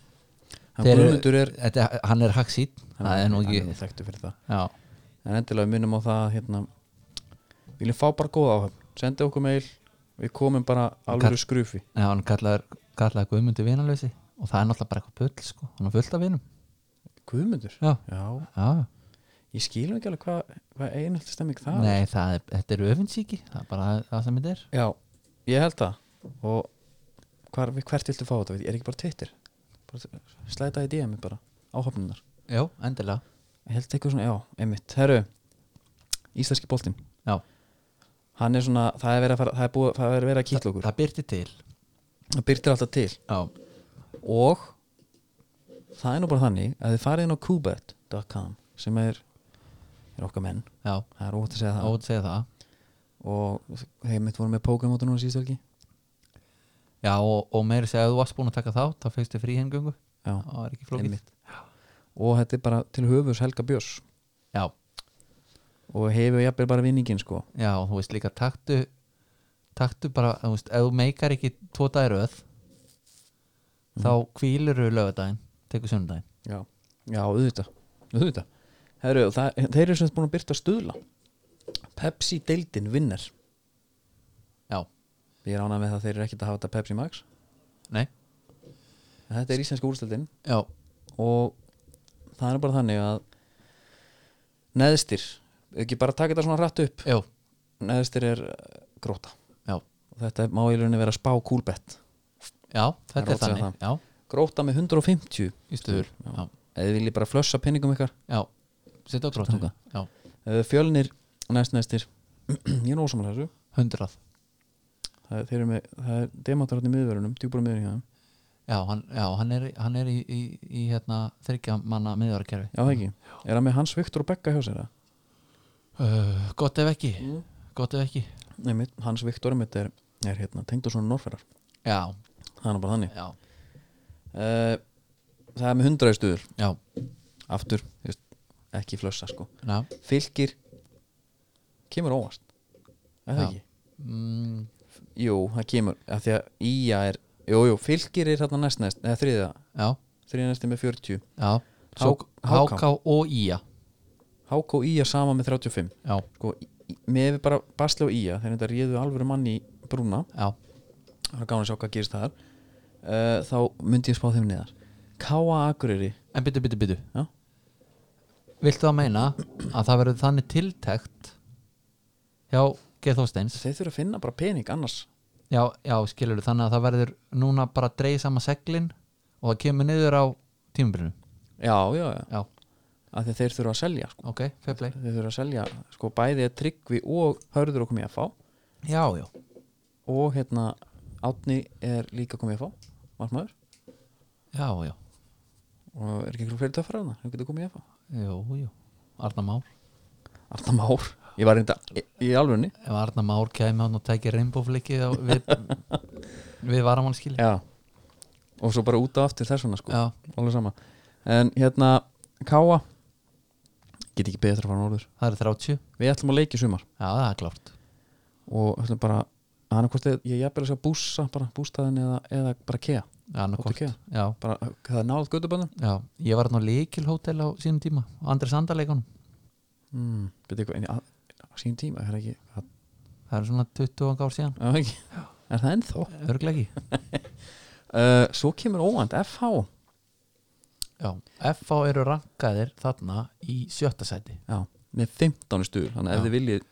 A: hann
B: Þeir eru-
A: Guðmundur er
B: Þetta, hann er haxít það er nú ekki
A: hann er þekktur fyrir það
B: já,
A: en endilega við minnum á það að, hérna, við viljum fá bara góð áhöfn senda okkur meil, við komum bara alveg skrúfi
B: já, hann kallar, kallar Guðmundi vinalösi og það er náttúrulega bara eitthvað pull sko. hann er fullt af vinum
A: Guðmundur?
B: já,
A: Já,
B: já.
A: ég skilum ekki alveg hvað hva einhaldi stemming það er.
B: Nei, það er, þetta er öfinsíki það er bara það sem þetta er
A: Já, ég held það og hvar, við- hvert viltu fá þetta, Ég er ekki bara Twitter bara, slæta í DM bara áhöfnunar,
B: já, endilega
A: ég held eitthvað svona, já, einmitt herru, íslenski boltinn
B: já,
A: hann er svona, það er verið að, fara, það er búið, það er verið að kýtla okkur
B: það byrti til
A: það byrtir alltaf til
B: já,
A: og það er nú bara þannig að þið farið inn á kubet.com sem er, er okkar menn
B: já,
A: það er ótt að segja það
B: ótt segja það
A: og þeir mitt voru með Pokémon núna síðust ekki
B: já, og, og meiri segja að þú varst búin að taka þá þá fegstu fríhengöngu,
A: Já,
B: það var ekki flókið
A: Einmitt. og þetta er bara til höfus Helga Björns
B: já,
A: og hefur jafnvel bara vinningin sko
B: já, og þú veist líka taktu taktu bara, þú veist, ef þú meikar ekki tvo dæröð mm. þá kvílur þú lögadaginn tekur sunnudaginn
A: já, já auðvitað, auðvitað. Heru, það, þeir eru sem sagt búin að byrta stuðla Pepsi deildin vinnar
B: já,
A: Ég er ánað með það þeir eru ekkert að hafa þetta Pepsi Max
B: Nei,
A: En Þetta er íslenska úrstöldin
B: já,
A: og það er bara þannig að neðstir ekki bara taka þetta svona rætt upp
B: já,
A: neðstir er eh, gróta
B: já,
A: og þetta má í rauninni vera spá kúlbett
B: já
A: Það er
B: Þetta
A: ótrúlega
B: er þannig, já,
A: gróta með 150
B: í stöður
A: Já.
B: Já,
A: eða þið viljið bara flössa pinningum ykkar
B: já, setja á gróttu
A: Stanga.
B: Já,
A: Eh, fjölnir næst neðstir ég er ósamlega þessu
B: hundrað
A: það er, þeir eru með, það er demantararni miðverunum djúbara miðverunum hjá þeim.
B: Já, hann, já, hann er, í- hann er í, í, í hérna, þryggja manna miðvarakerfi
A: Mm. já það ekki, er það með Hans Viktor og Begga hjá sér það?
B: uh, Gott ef ekki,
A: Mm.
B: gott ef ekki
A: Nei, mitt, Hans Viktor mitt er, er hérna, tengd og svona norferðar
B: Já,
A: það er nú bara þannig
B: já,
A: uh, það er með 100 í stuður
B: já,
A: aftur, þú veist, ekki flössa sko
B: já
A: fylgir kemur óvast er það
B: Já.
A: ekki?
B: mm,
A: Jú, það kemur, af því að íja er jú, jú, fylgir er þarna næst næst eða þriða,
B: Já,
A: þriða næsti með 40
B: já
A: Svo- HK.
B: HK og Ía
A: HK og íja sama með 35
B: Já,
A: sko, í- með við bara basla og íja þegar þetta réðu alvöru manni í brúna
B: já,
A: það er gáðan að sjá hvað gerist þar uh, þá myndi ég spá þeim neðar K.A. Akureyri
B: en byttu, byttu, byttu
A: Já.
B: Viltu það meina að það verður þannig tiltækt hjá Geir Þorsteins
A: þeir þurfa að finna bara pening annars
B: já, já, skilur þannig að það verður núna bara að dreigja sama seglin og það kemur niður á tímabrinu
A: já, já, já,
B: Já,
A: af því að þeir þurfa að selja sko.
B: ok, fair play
A: þeir þurfa að selja sko, bæði að tryggvi og hörður okkur með að fá
B: Já, já,
A: og hérna Átni er líka komið að fá margmaður
B: já, já,
A: og er ekki einhver fyrir töffar hana hann getur komið að fá
B: jú, jú Arna Már,
A: Arna Már ég var reynda í, í alvörunni
B: ef Arna Már kæmi hann og tæki reynbóflikið við, við varamannskili
A: já og svo bara út af aftur þess vegna sko
B: Já,
A: alveg sama en hérna Káa get ekki betra að fara norður
B: það eru 30 Já,
A: við ætlum að leiki sumar
B: það er klárt
A: og ætlum bara hann er hvort eð, ég jafnvel að segja bússa bara bústaðin eða, eða bara kea
B: Annarkort,
A: Ókei.
B: já,
A: bara það er náðað göduböndum
B: já Ég var hann á Líkilhótel á sínum tíma á Andri Sandarleikunum
A: mm. betur eitthvað en ég- á- á sín tíma er það ekki, að,
B: Það eru svona 20 ár síðan
A: að, ekki er það ennþá
B: Örglega ekki
A: uh, svo kemur óvænt FH
B: Já, FH eru rankaðir þarna í sjötta sæti
A: já, með 15 stuð þannig að ef
B: Já.
A: þið viljið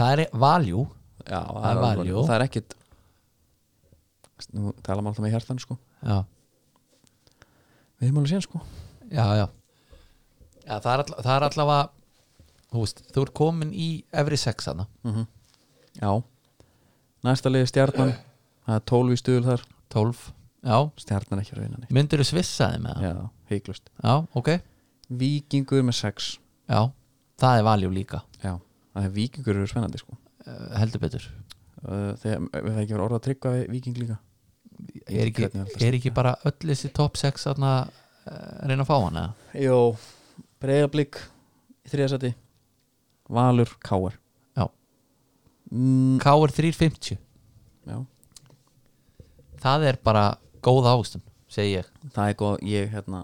B: Það er valjú
A: já, það,
B: er
A: er alveg-
B: value.
A: og það er ekkit nú tala maður alltaf með hjartan sko
B: Já,
A: við erum alveg síðan sko
B: já, já, já Það er, all, það er allavega Þú veist, þú ert komin í efri sex hana
A: Mhm. já, næsta liði stjarnan það er 12 í stuð þar
B: 12, já
A: stjarnan er ekki að vinna neitt
B: Myndir þú svissaði með það?
A: já, heiklust
B: já, ok
A: vikingur með 6
B: Já, það er valjú líka
A: já, það er vikingur eru spennandi sko
B: eh, heldur betur
A: uh, þegar við það ekki verið orða að tryggva við viking líka
B: er
A: Hvernig
B: ekki,
A: er alltaf
B: er ekki bara öll þessi top 6 að reyna að fá hana
A: Jó, breyðablík þriðasæti, Valur Káar
B: Já.
A: mm,
B: KR 350,
A: Já,
B: það er bara góð ástun, segi ég
A: það er góð ég hérna,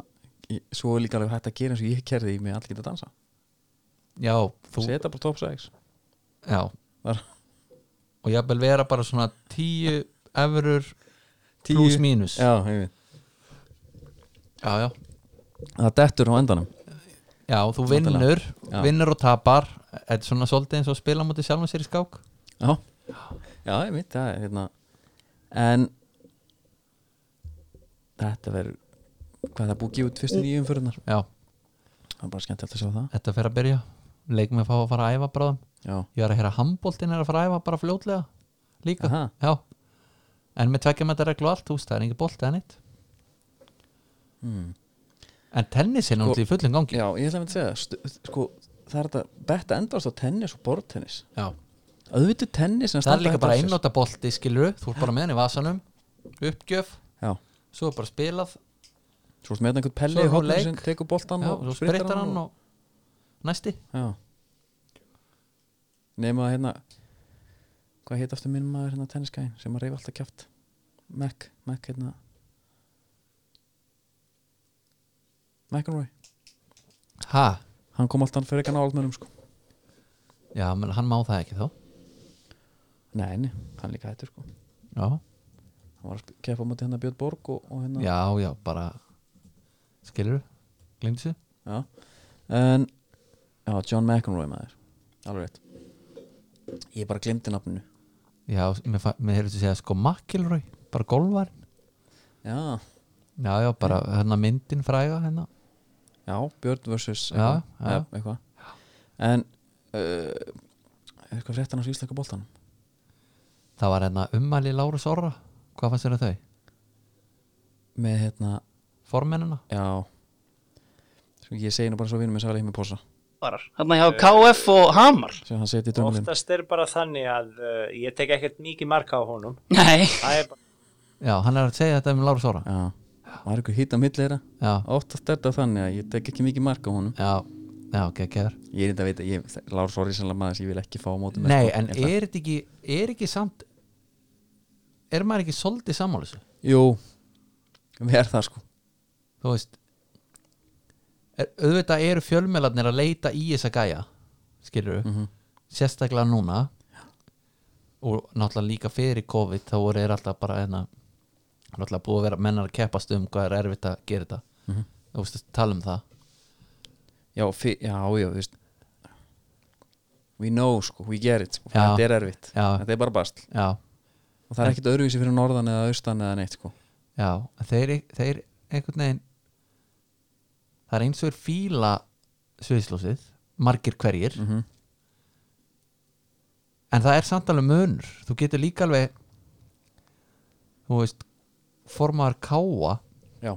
A: ég, svo er líka alveg hægt að gera eins og ég kerði í mig allir geta dansa
B: já, þú,
A: Seta bara top 6
B: já
A: Var-
B: og ég vil vera bara svona 10 efurur
A: Tíu.
B: plus mínus já,
A: Já, ég veit
B: já,
A: Það dettur á endanum
B: já þú vinnur
A: Já.
B: vinnur og tapar þetta er svona svolítið eins og að spila mútið sjálfum sér í skák
A: Já, já ég veit það er hérna En Þetta verður Hvað er það búið að gefa út fyrstu nýjum fyrirnar
B: já,
A: Það er bara skemmt að sjá það
B: þetta fer að byrja leikum að fá að fara að æfa bráðum
A: Já,
B: ég var að heyra að handbóltin er að fara að æfa bara fljótlega líka
A: Aha.
B: Já, en með tveggjum að reglu og allt húst, það er engin bolti eða neitt
A: Hmm.
B: En tennis er náttúrulega í fullum gangi
A: já ég ætla að mynda að segja það. Stu- Sko, það er þetta betta endast á tennis og bortennis auðvitað tennis en
B: Það er
A: standa
B: líka
A: hægt
B: bara
A: á sér.
B: einnóta bolti, skilur þú ert bara með henni í vasanum, uppgjöf
A: já,
B: svo er bara spilað,
A: svo ertu með einhvern
B: Svo
A: pelli
B: er
A: í
B: hún
A: hotnum
B: leik.
A: sem tekur boltan
B: já,
A: og
B: svo spreytar hann og næsti
A: já nema að hérna hvað heit aftur minn maður hérna tenniskæðin sem að reyfa alltaf kjátt Mac, Mac hérna McEnroy
B: Ha,
A: hann kom alltaf fyrir ekki að náðum sko
B: já, menn hann má það ekki þá
A: Nei, nei, hann er líka hættur sko
B: já,
A: Hann var að sp- keppa á móti hérna Björn Borg og, og hérna
B: já, já bara skilur, glemdi sér
A: Já. En Já, John McEnroy maður Alveg rétt Ég bara glemdi nafninu
B: já, mér, fa- mér heyrðu að segja sko Makilröy, bara golvar
A: Já,
B: já, já, bara hérna myndin fræga hérna
A: já, Björn versus
B: Já,
A: eitthvað,
B: já.
A: eða eitthvað. En uh, Eitthvað fréttan á svísleika boltanum
B: það var hérna ummæli Lárus Orra hvað fannst þér að þau?
A: Með hérna,
B: formennina?
A: já Sko ég segi nú bara svo vinum með sæli með posa
C: varar Þannig að KF og Hamar
A: sem hann seti í drömmulinn
D: Oftast er bara þannig að uh, ég tek ekkert mikið marka á honum.
C: Nei,
D: Það er bara,
B: já, hann er að segja þetta um Lárus Orra
A: Já, var eitthvað hýtt á milli þeirra
B: já,
A: Oftast er þetta þannig að ég tek ekki mikið mark á honum
B: já, já, geggjör
A: Ég er þetta að veita, ég, Lár Sori sem maður sem ég vil ekki fá á sko. mótum
B: nei, en er þetta ekki er ekki samt er maður ekki soldið sammála þessu?
A: Jú, við erum það sko
B: þú veist er, auðvitað eru fjölmjölarnir að leita í þessa gæja skilur sérstaklega núna og náttúrulega líka fyrir COVID þá voru þeir alltaf bara enna náttúrulega búið að vera mennar að keppast um hvað er erfitt að gera þetta þú veist, tala um það
A: Já, fyr, já, já, þú veist We know sko, we get it sko.
B: Já.
A: Þetta er erfitt,
B: Já.
A: þetta er bara bast
B: já,
A: Og það er ekkit öðruvísi fyrir norðan eða austan eða neitt sko
B: já, en þeir, þeir einhvern veginn það er eins og er fíla sviðslósið, margir hverjir
A: Mhm.
B: en það er samt alveg munur þú getur líka alveg þú veist formaður káa,
A: Já,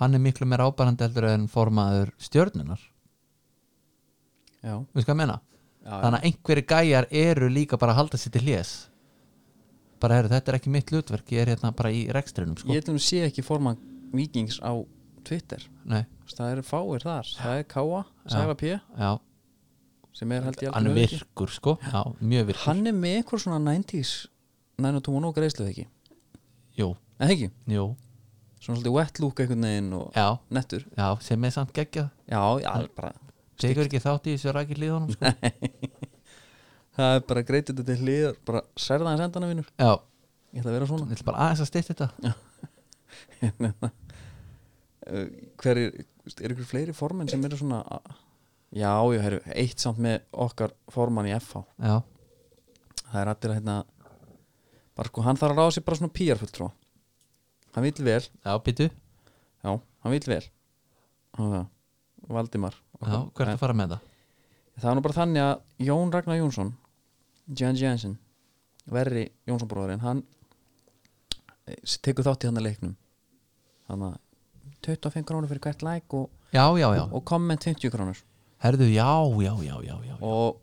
B: hann er miklu meira ábærandi heldur en formaður stjörnunar
A: já,
B: við sko að menna,
A: já, já.
B: þannig að einhverju gæjar eru líka bara að halda sér til hlés bara heru, þetta er ekki mitt hlutverk ég er hérna bara í rekstrinum sko.
A: Ég ætlum sé ekki forman vikings á Twitter
B: Nei,
A: Þú veist, Það eru fáir þar, það er Káa, Sæfa P
B: já,
A: sem er held ég
B: hann er
A: algjör öryggi.
B: virkur sko. já, mjög virkur
A: Hann er með eitthvað svona 90s 902 og greiðsluð ekki
B: jú,
A: En ekki,
B: jú,
A: svona svolítið wet look einhvern veginn og
B: já,
A: nettur
B: já, sem er samt geggjað
A: Já, já, bara
B: tekur ekki þátt í þessu rækir liðunum sko.
A: Það er bara greiðt þetta til hliðar bara særða hans endana vinur
B: já,
A: Ég ætla að vera
B: ég ætla bara aðeins að stýtt þetta
A: svona Eh, Hverjir, er ykkur fleiri formenn sem eru svona Já, já, herru, eitt samt með okkar formann í FH
B: já,
A: það er allir að hérna bara sko, hann þarf að ráða sér bara svona PR fulltrú hann vill vel,
B: já, býtu
A: já, hann vill vel hann var það, Valdimar
B: Já, hvert að fara með það?
A: það var nú bara þannig að Jón Ragnar Jónsson Jan Jensen verri Jónsson bróðurinn, hann eh, tekur þátt í hann að leiknum þannig að 25 krónur fyrir hvert like og,
B: Já, já, já,
A: og komment 50 krónur
B: herðu, já, já, já, já, já.
A: og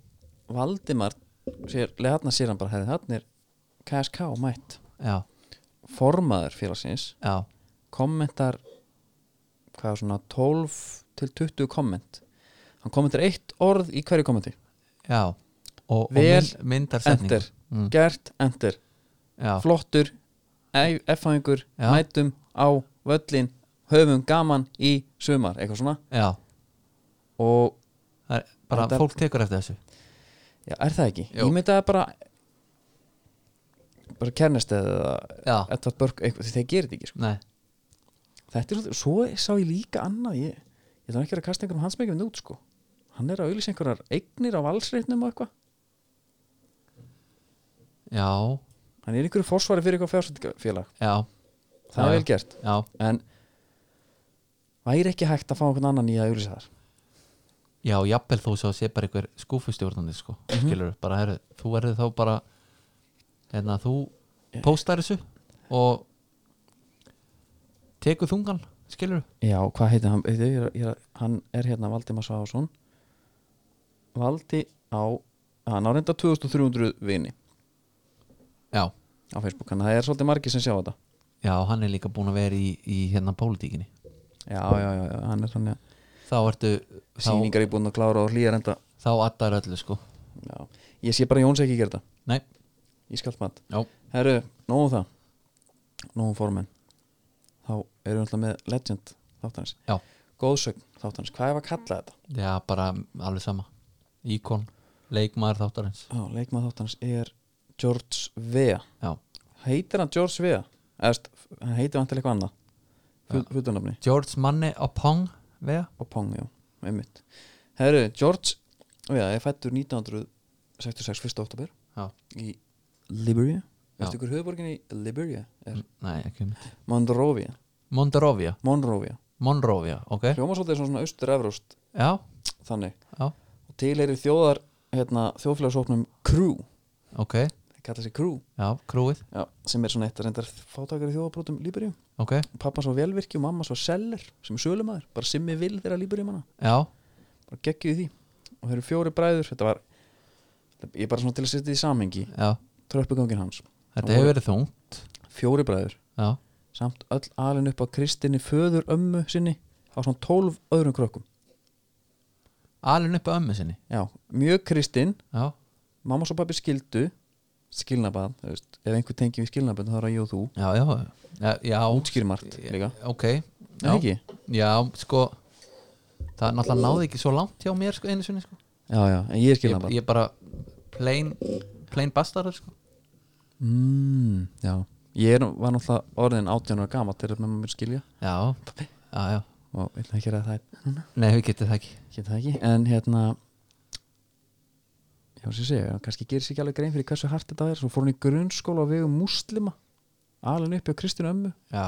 A: Valdimar sér, leðna sér hann bara, herri, hann er KSK mætt,
B: Já,
A: formaður félagsins
B: já,
A: kommentar hvað svona 12 til 20 komment hann kommentar eitt orð í hverju kommenti
B: já Og, og
A: Vel,
B: mynd- myndar setningu
A: enter,
B: Mm.
A: gert, enter
B: Já,
A: flottur, effaðingur
B: Já.
A: mætum á völlin höfum gaman í sumar eitthvað svona
B: já
A: og
B: Það er Bara
A: Þetta-
B: fólk tekur eftir þessu
A: já, er það ekki,
B: Jú.
A: ég myndaði bara bara kernest eða
B: Já,
A: eitthvað börk, eitthvað, þeir gerir þetta ekki sko.
B: nei,
A: þetta er svolítið, svo sá ég líka annað ég, ég ætla ekki að vera að kasta einhverjum hansmyggjum út sko, hann er að auðlýsa einhverjar eignir á valsreitnum og eitthvað
B: já,
A: hann er í einhverju forsvari fyrir eitthvað fjársættingafélag
B: já,
A: það er
B: Já.
A: vel gert,
B: já
A: en væri ekki hægt að fá einhvern annan í að auðlýsa þar
B: Já, jafnvel þú svo sé bara einhver skúfustjórnandi sko, skilur, bara herðu þú verður þá bara hérna, þú póstar þessu og tekur þungan, skilur
A: já, hvað heitir hann Ég er- ég er- hann er hérna Valdimar Svásson Valdi á hann á reynda 2300 vini
B: Já,
A: á Facebook, þannig að það er svolítið margir sem sjá þetta
B: já, hann er líka búin að vera í, í hérna pólitíkinni
A: já, já, já, já hann er þannig að
B: Þá ertu þá,
A: síningar er búin að klára og hlýja reynda
B: þá addar öllu sko
A: já. ég sé bara Jóns ekki gera þetta
B: Nei,
A: í skallmat
B: já,
A: Herru, nóðum það Nóðum formen Þá erum við alltaf með Legend þáttanins
B: já,
A: Góðsögn þáttanins, hvað ef að kalla þetta?
B: já bara alveg sama Íkon, leikmaður þáttarins
A: Já, leikmað þáttanins er George Vea
B: Já.
A: heitir hann George Vea Eðast, hann heitir hann til eitthvað annað hlutunafni
B: George Manni Apong vega
A: og Pong, já, einmitt Herru, George Vea er fættur 1966, 1. oktober
B: Já.
A: í Liberia
B: Já. Mm.
A: Veistu ykkur höfuborgin í Liberia er
B: Nei, ekki mynd
A: Monrovia
B: Monrovia,
A: Monrovia,
B: Monrovia, ok
A: hljóma svolítið svona, svona austur-evróst
B: Já,
A: þannig
B: já,
A: og til er þjóðar hérna, þjóðfélagsóknum Crew,
B: ok
A: það kalla sig Crew
B: Já, krúið,
A: já, sem er svona eitt að reyndar fátakari þjóðabrótum Liberíu,
B: ok
A: pappa svo velvirki og mamma svo seller sem er sölumæður, bara simmi vil þeirra Liberíu manna,
B: Já,
A: bara geggjum því og þeir eru fjóri bræður, þetta var ég er bara svona til að setja þetta í samhengi
B: já,
A: tröppugangin hans,
B: þetta hefur verið þungt
A: fjóri bræður
B: Já,
A: samt öll alin upp á kristinni föður ömmu sinni á svona tólf öðrum krökkum
B: alveg upp á ömmu sinni
A: já, mjög kristinn
B: Já,
A: mamma og pappi skildu skilnabad, þú veist, ef einhver tengi við skilnabad þá er það ég og þú,
B: já, já, já, já
A: útskýr margt líka
B: Ok,
A: Nei,
B: já,
A: ekki?
B: já, sko Það náttúrulega náði ekki svo langt hjá mér, sko, einu sinni, sko
A: Já, já, en ég er
B: Ég,
A: skilnabad
B: ég bara, plain, plain bastard, sko
A: mm, Já, ég er, var náttúrulega orðin 18 ára gamall þegar mamma mér skilja
B: Já, já, já
A: og vil ekki gera það,
B: Nei, við getum það ekki
A: geta það ekki en hérna já, sem ég segja, kannski gerir sér ekki alveg grein fyrir hversu hart þetta er, svo fór hún í grunnskóla á vegum múslima, alveg uppi á Kristínu ömmu
B: Já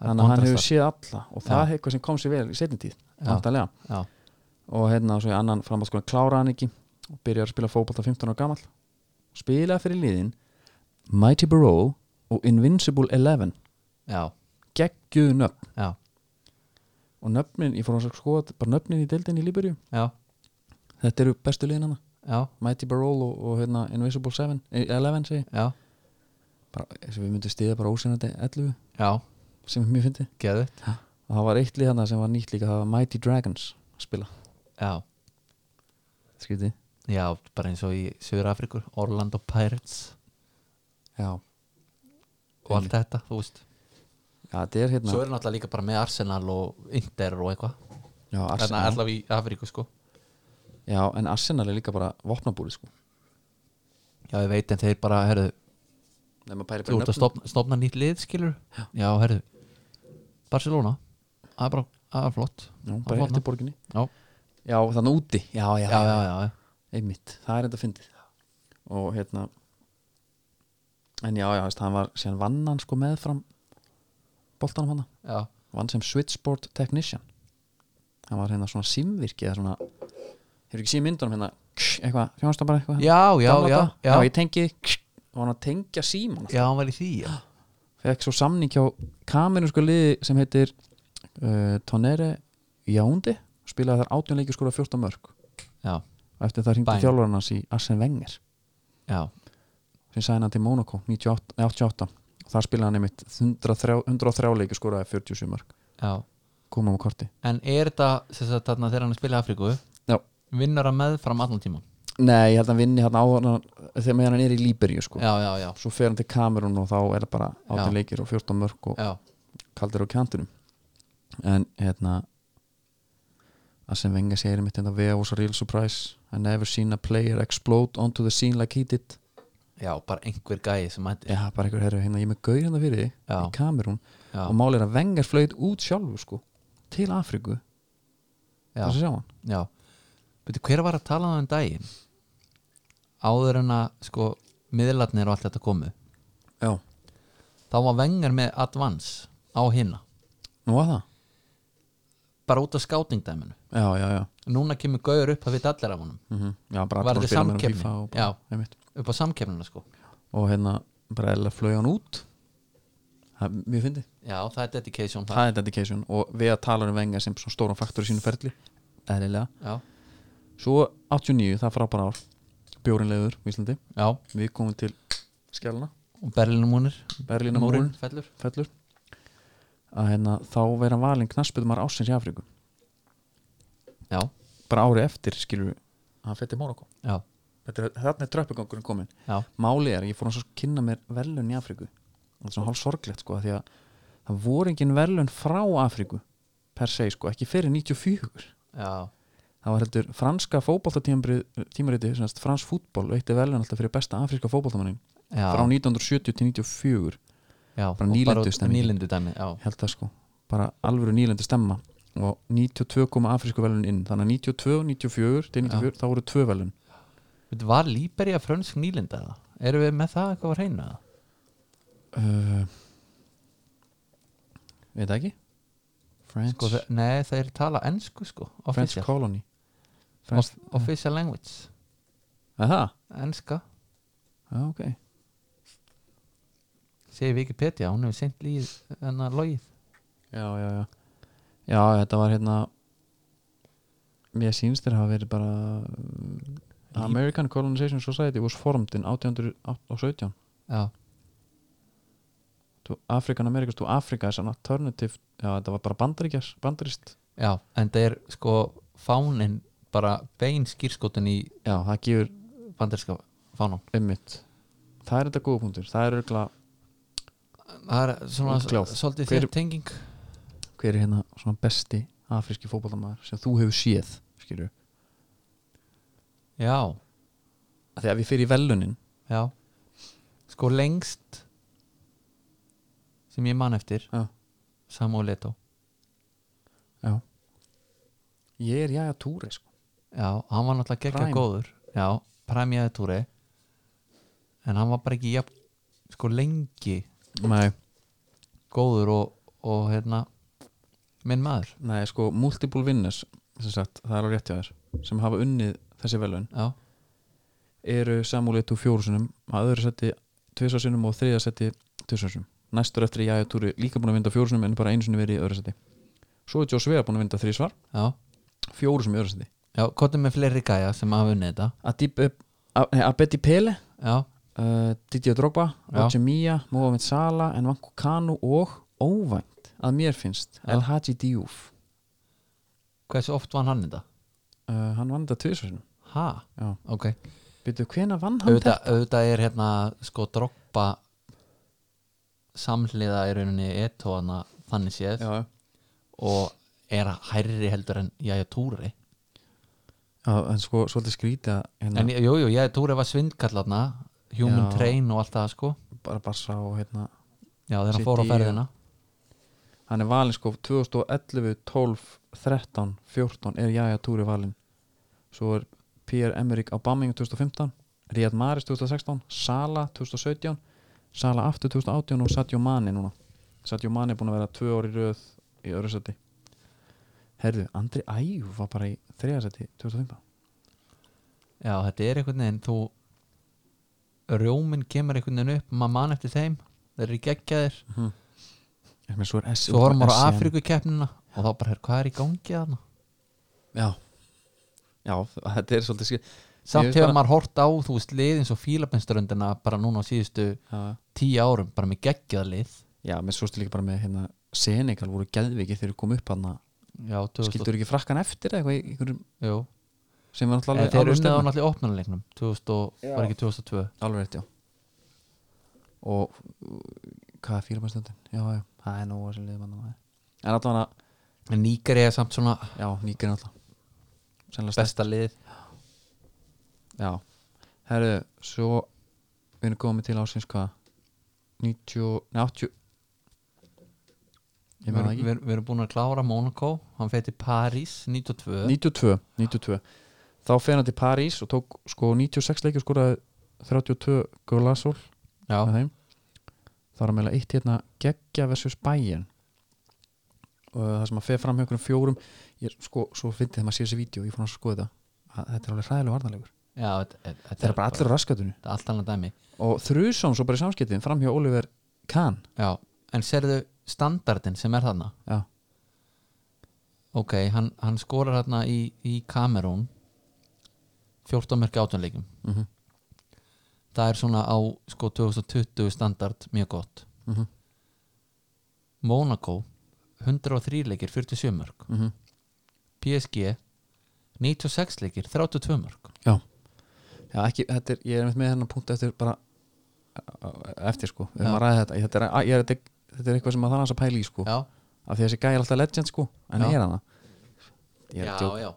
A: þannig að hann hefur
B: Kontrastar.
A: séð alla og það er eitthvað sem kom sér vel í setni tíð,
B: Já.
A: vantarlega
B: Já,
A: og hérna svo í annan framhaldsskóla klára hann ekki og byrjar að spila fótbolta 15 ára gamall spilaði fyrir liðin Mighty Barrow og Invincible Eleven
B: já,
A: geggjuðu nöfn
B: já,
A: og nöfnin, ég fór að skoða þetta, bara nöfnin í deildin í Líberíu,
B: já,
A: þetta eru bestu liðin hana
B: já,
A: Mighty Barrow og, og hérna, Invincible Seven, eh, Eleven segi,
B: já,
A: bara, eins og við myndum stiða bara ósynandi 11
B: já,
A: sem er mjög fyndi
B: geðvitt
A: og það var eitt lið hana sem var nýtt líka, það var Mighty Dragons að spila,
B: Já,
A: skriði
B: já, bara eins og í Suður Afrikur, Orlando Pirates
A: já,
B: og allt þetta, þú veist
A: já, þetta er hérna
B: Svo eru náttúrulega líka bara með Arsenal og Inter og eitthvað
A: já,
B: Þannig
A: Arsenal,
B: að allavega í Afríku, sko
A: já, en Arsenal er líka bara vopnabúri sko
B: Já, ég veit en þeir bara, herðu,
A: Nei, maður pæri
B: þú ert að stofna, stofna nýtt lið, skilur Já, herðu, Barcelona, það er bara, það er flott
A: Já,
B: Það er
A: bara
B: flott
A: eftir
B: nafn.
A: borginni
B: Já,
A: Já, þannig úti Já, já,
B: hérna. já, já, já, já,
A: Einmitt, það er þetta fyndið Og hérna En já, já, veist, hann var Sér vann hann sko meðfram Boltanum hann
B: já,
A: Vann sem switchboard technician Hann var hérna svona simvirki Eða svona Hefur ekki síð myndunum hérna ksh, Eitthvað, hljóðast hann bara eitthvað
B: já, já,
A: Gamla
B: já,
A: daga.
B: já,
A: ég tengi ksh, Og hann að tengja síman
B: já, hann var í því, já
A: Fekk svo samning hjá Kamerun sko liði sem heitir uh, Tonere Jáundi Spilaði þar 18 leikir skora 14 mörg
B: Já,
A: og eftir það hringdi
B: Bæn.
A: þjálfarinn hans í Arsene Wenger
B: já, sem
A: sem sæði hann til Monaco 98, nei, 88 og þar spilaði hann einmitt 103, 103 leiki skoraði 47 mörg
B: já
A: komum á korti
B: En er þetta sem sagt, þarna, þegar hann er að spila í Afríku
A: Já.
B: vinnur hann með fram allan tíman
A: Nei, ég held að hann vinni hérna á hann þegar meðan hann er í Líberíu sko
B: Já, já, já,
A: svo fer hann til Kamerun og þá er það bara 18
B: Já.
A: leikir og 14 mörg og
B: já,
A: kaldir á kjantinum en hérna Arsene Wenger segir einmitt hérna Vea was a real surprise I never seen a player explode onto the scene like he did
B: já bara einhver gæi sem mætti
A: Já, bara einhver herru, hérna ég er með gauð hérna fyrir þig
B: Já.
A: í Kamerun
B: Já,
A: og málið er að Vengar flöið út sjálfur sko til Afríku
B: já,
A: þess að sjá hann
B: já. Beti, Hver var að tala um daginn áður en að sko, miðlarnir og allt þetta komu
A: já,
B: þá var vengar með advance á hinna
A: nú var það
B: bara út af skátingdæminu
A: já, já, já,
B: Núna kemur gauður upp að vita allir af honum
A: mm já bara
B: Var
A: allir að
B: þetta
A: spila með honum
B: samkeppni?
A: FIFA og,
B: Já.
A: bara, einmitt.
B: upp á samkefnina sko
A: og hérna bara eða flöið hann út það er mjög fyndið
B: Já, það er dedication
A: það er dedication og við að tala um Vengar sem svona stóran faktor í sínu ferli eðlilega
B: Já,
A: svo 89, það er frábæra ár bjórinlegur í Íslandi
B: já,
A: við komum til skjálna
B: og Berlinumúnir
A: Berlínamúrin
B: fellur
A: fellur að hérna þá vera valinn knassbytumar ásins í Afríku
B: Já,
A: bara ári eftir skilur hann fætti Mónakó
B: já,
A: þarna er tröppugangurinn komin
B: já,
A: málið er, að ég fór hans að kynna mér verðlun í Afríku það er svona hálf sorglegt sko því að það voru engin verðlun frá Afríku per se sko, ekki fyrir 94
B: já
A: það var heldur franska fótboltatímariti fransk fútbol veitti velun alltaf fyrir besta afríska fótboltamannin
B: já,
A: frá 1970 til 94
B: já,
A: bara
B: og
A: nýlendu
B: bara út-
A: stemningin.
B: nýlendu dæmi já,
A: held það sko, bara alvöru nýlendu stemma og 92 koma afrísku velun inn þannig að 92, 94 til 94 þá voru tvö velun
B: Veitu, var Líberi að frönsk nýlenda það? Erum við með það eitthvað að reyna það?
A: uh, veit ekki French,
B: Sko, þe- nei, þeir tala ennsku sko
A: French
B: official,
A: colony French,
B: Of, official language
A: að það?
B: Ennska,
A: Já, ok
B: segir Wikipedia hún hefur seint líð enna logið
A: já, já, já já, þetta var hérna mér sýnst þér hafa verið bara mm, American Colonization Society was formed in 1817
B: já,
A: to African Americans to Africa as an alternative já, þetta var bara bandaríkjas, bandarist
B: já, en það er sko fáninn bara bein skýrskotun í
A: já, það gefur
B: banderska fánan
A: ummitt það er þetta góða punktur, það er örgla
B: það er svona
A: Útkljáð.
B: svolítið
A: Hver-
B: þér tenging
A: hver er hérna svona besti afríski fótballamaður sem þú hefur séð skilur,
B: já,
A: af því að við fyrir í velunin
B: já sko lengst sem ég man eftir
A: Já.
B: Samu Leto
A: já ég er jæja túri sko
B: Já, hann var náttúrulega geggja
A: Prime.
B: góður Já, præmjaði túri En hann var bara ekki jafn, sko lengi
A: nei
B: góður og, og hérna minn maður
A: Nei, sko, multiple winners sem sagt, það er á rétti að þér sem hafa unnið þessi velun
B: Já,
A: eru Samuel Eto'o fjórusunum að öðru seti tvisasunum og þriða seti tvisasunum næstur eftir Jæja Túri líka búin að vinda fjórusunum en bara einu sinni verið í öðru seti svo er Joe Svea búin að vinda þrísvar
B: já,
A: fjórusum í öðru seti
B: já, kottum með fleiri gæja sem hafa unnið þetta
A: Adib- eh, A- nei, Abedi Pele
B: Já,
A: uh, Didier Drogba,
B: Já.
A: Roger Mia Mohamed Salah, Nwanko Kanu og óvænt að mér finnst
B: Já.
A: El Hadji Diouf
B: hversu oft vann hann þetta?
A: uh, hann vann þetta tvisasunum
B: Ha,
A: Já.
B: ok
A: Býtu, hvena vann hann þetta?
B: auðvitað, auðvitað er hérna sko droppa samhliða í rauninni Eto hana þannig séð
A: Já, já
B: og er hærri heldur en Jæja Túri
A: Já, en sko, svolítið skrítið að hérna,
B: En jú, jú, ég Túri var svindkallarna Human
A: Já.
B: Train og allt það sko
A: bara Barsa og hérna
B: Já, þegar hann
A: City
B: fór á
A: og-
B: ferðina
A: hann er valinn sko 2011, 12, 13, 14 er Jæja Túri valinn svo er Pierre Emerick Aubameyang 2015 Riyad Mahrez 2016 Sala 2017 Sala aftur 2018 og Sadio Mane núna Sadio Mane er búin að vera tvö ári röð í öðru seti Herðu, Andri Æjú var bara í þriða seti 2015
B: Já, þetta er einhvern veginn þú Rjóminn kemur einhvern veginn upp maður mann eftir þeim, þeir eru geggjaðir
A: En mér Svo, er S-
B: Svo horfum maður á
A: SCM.
B: Afríkukeppnina og þá bara, "Heyrðu, hvað er í gangi þarna?
A: Já, Já þetta er svolítið skil
B: Samt
A: veist
B: hefur
A: bara-
B: maður hort á, þú veist, liðin svo fílapenströndina bara núna á síðustu
A: Já.
B: tíu árum, bara með geggjaðlið
A: Já, menn svo stu líka bara með hérna Senegal voru geðviki þegar við komum upp hann
B: Já, 2000
A: skildur ekki frakkan eftir eða eitthvað í einhverjum
B: Jú,
A: sem var
B: eða
A: náttúrulega
B: þeir eru
A: alveg,
B: unnið á
A: alveg,
B: náttúrulega opnarleiknum 2000, og- var ekki 2002
A: alveg rétt, já og uh, hvað er fyrir bara stundin? Já, já, það er nóg að sem liðum hann en allan að,
B: En Níkari er samt svona
A: já, nýgir náttúrulega sennilega stærst,
B: besta lið
A: já herru, svo við erum komið til ásins hvað 90, nei 80 ég
B: Við
A: meina
B: erum,
A: ekki
B: við, erum- við erum búin að klára Monaco Hann fer til París 92
A: 92, 92 þá fer hann til París og tók sko 96 leiki og skoraði 32 Gulasol
B: Já,
A: með þeim þá er hann meðlega eitt hérna geggja versus bæin og eh, það sem að fer fram hjá einhverjum fjórum ég, sko, svo fyndi þegar maður sér þessi vídeo ég fór hans að skoða þetta að þetta er alveg hræðilega varnarlegur
B: já þetta, þetta,
A: þetta er bara allir á raskatunni
B: þetta er allt annað dæmi
A: og þrjusán svo bara í samskiptin fram hjá Oliver Kahn
B: Já, en serðu standardin sem er þarna
A: já,
B: Ok, hann, hann skorar þarna í, í Kamerún 14 mörg átjónleikum
A: mm -hmm,
B: Það er svona á sko 2020 standard mjög gott
A: mm -hmm,
B: Monaco 103 leikir 47 mörg
A: Mhm.
B: PSG 96 leikir 32 mörg
A: já já, ekki, þetta er, ég er einmitt með hennan punkt eftir bara eftir sko, við erum
B: Já.
A: að ræða þetta Ég- þetta er, ég er, þetta, er- þetta er eitthvað sem að það er hans að pæla í sko
B: Já,
A: af því að þessi gæði er alltaf legend sko en
B: Já.
A: er hann það? Ég er
B: já,
A: að djóka.
B: já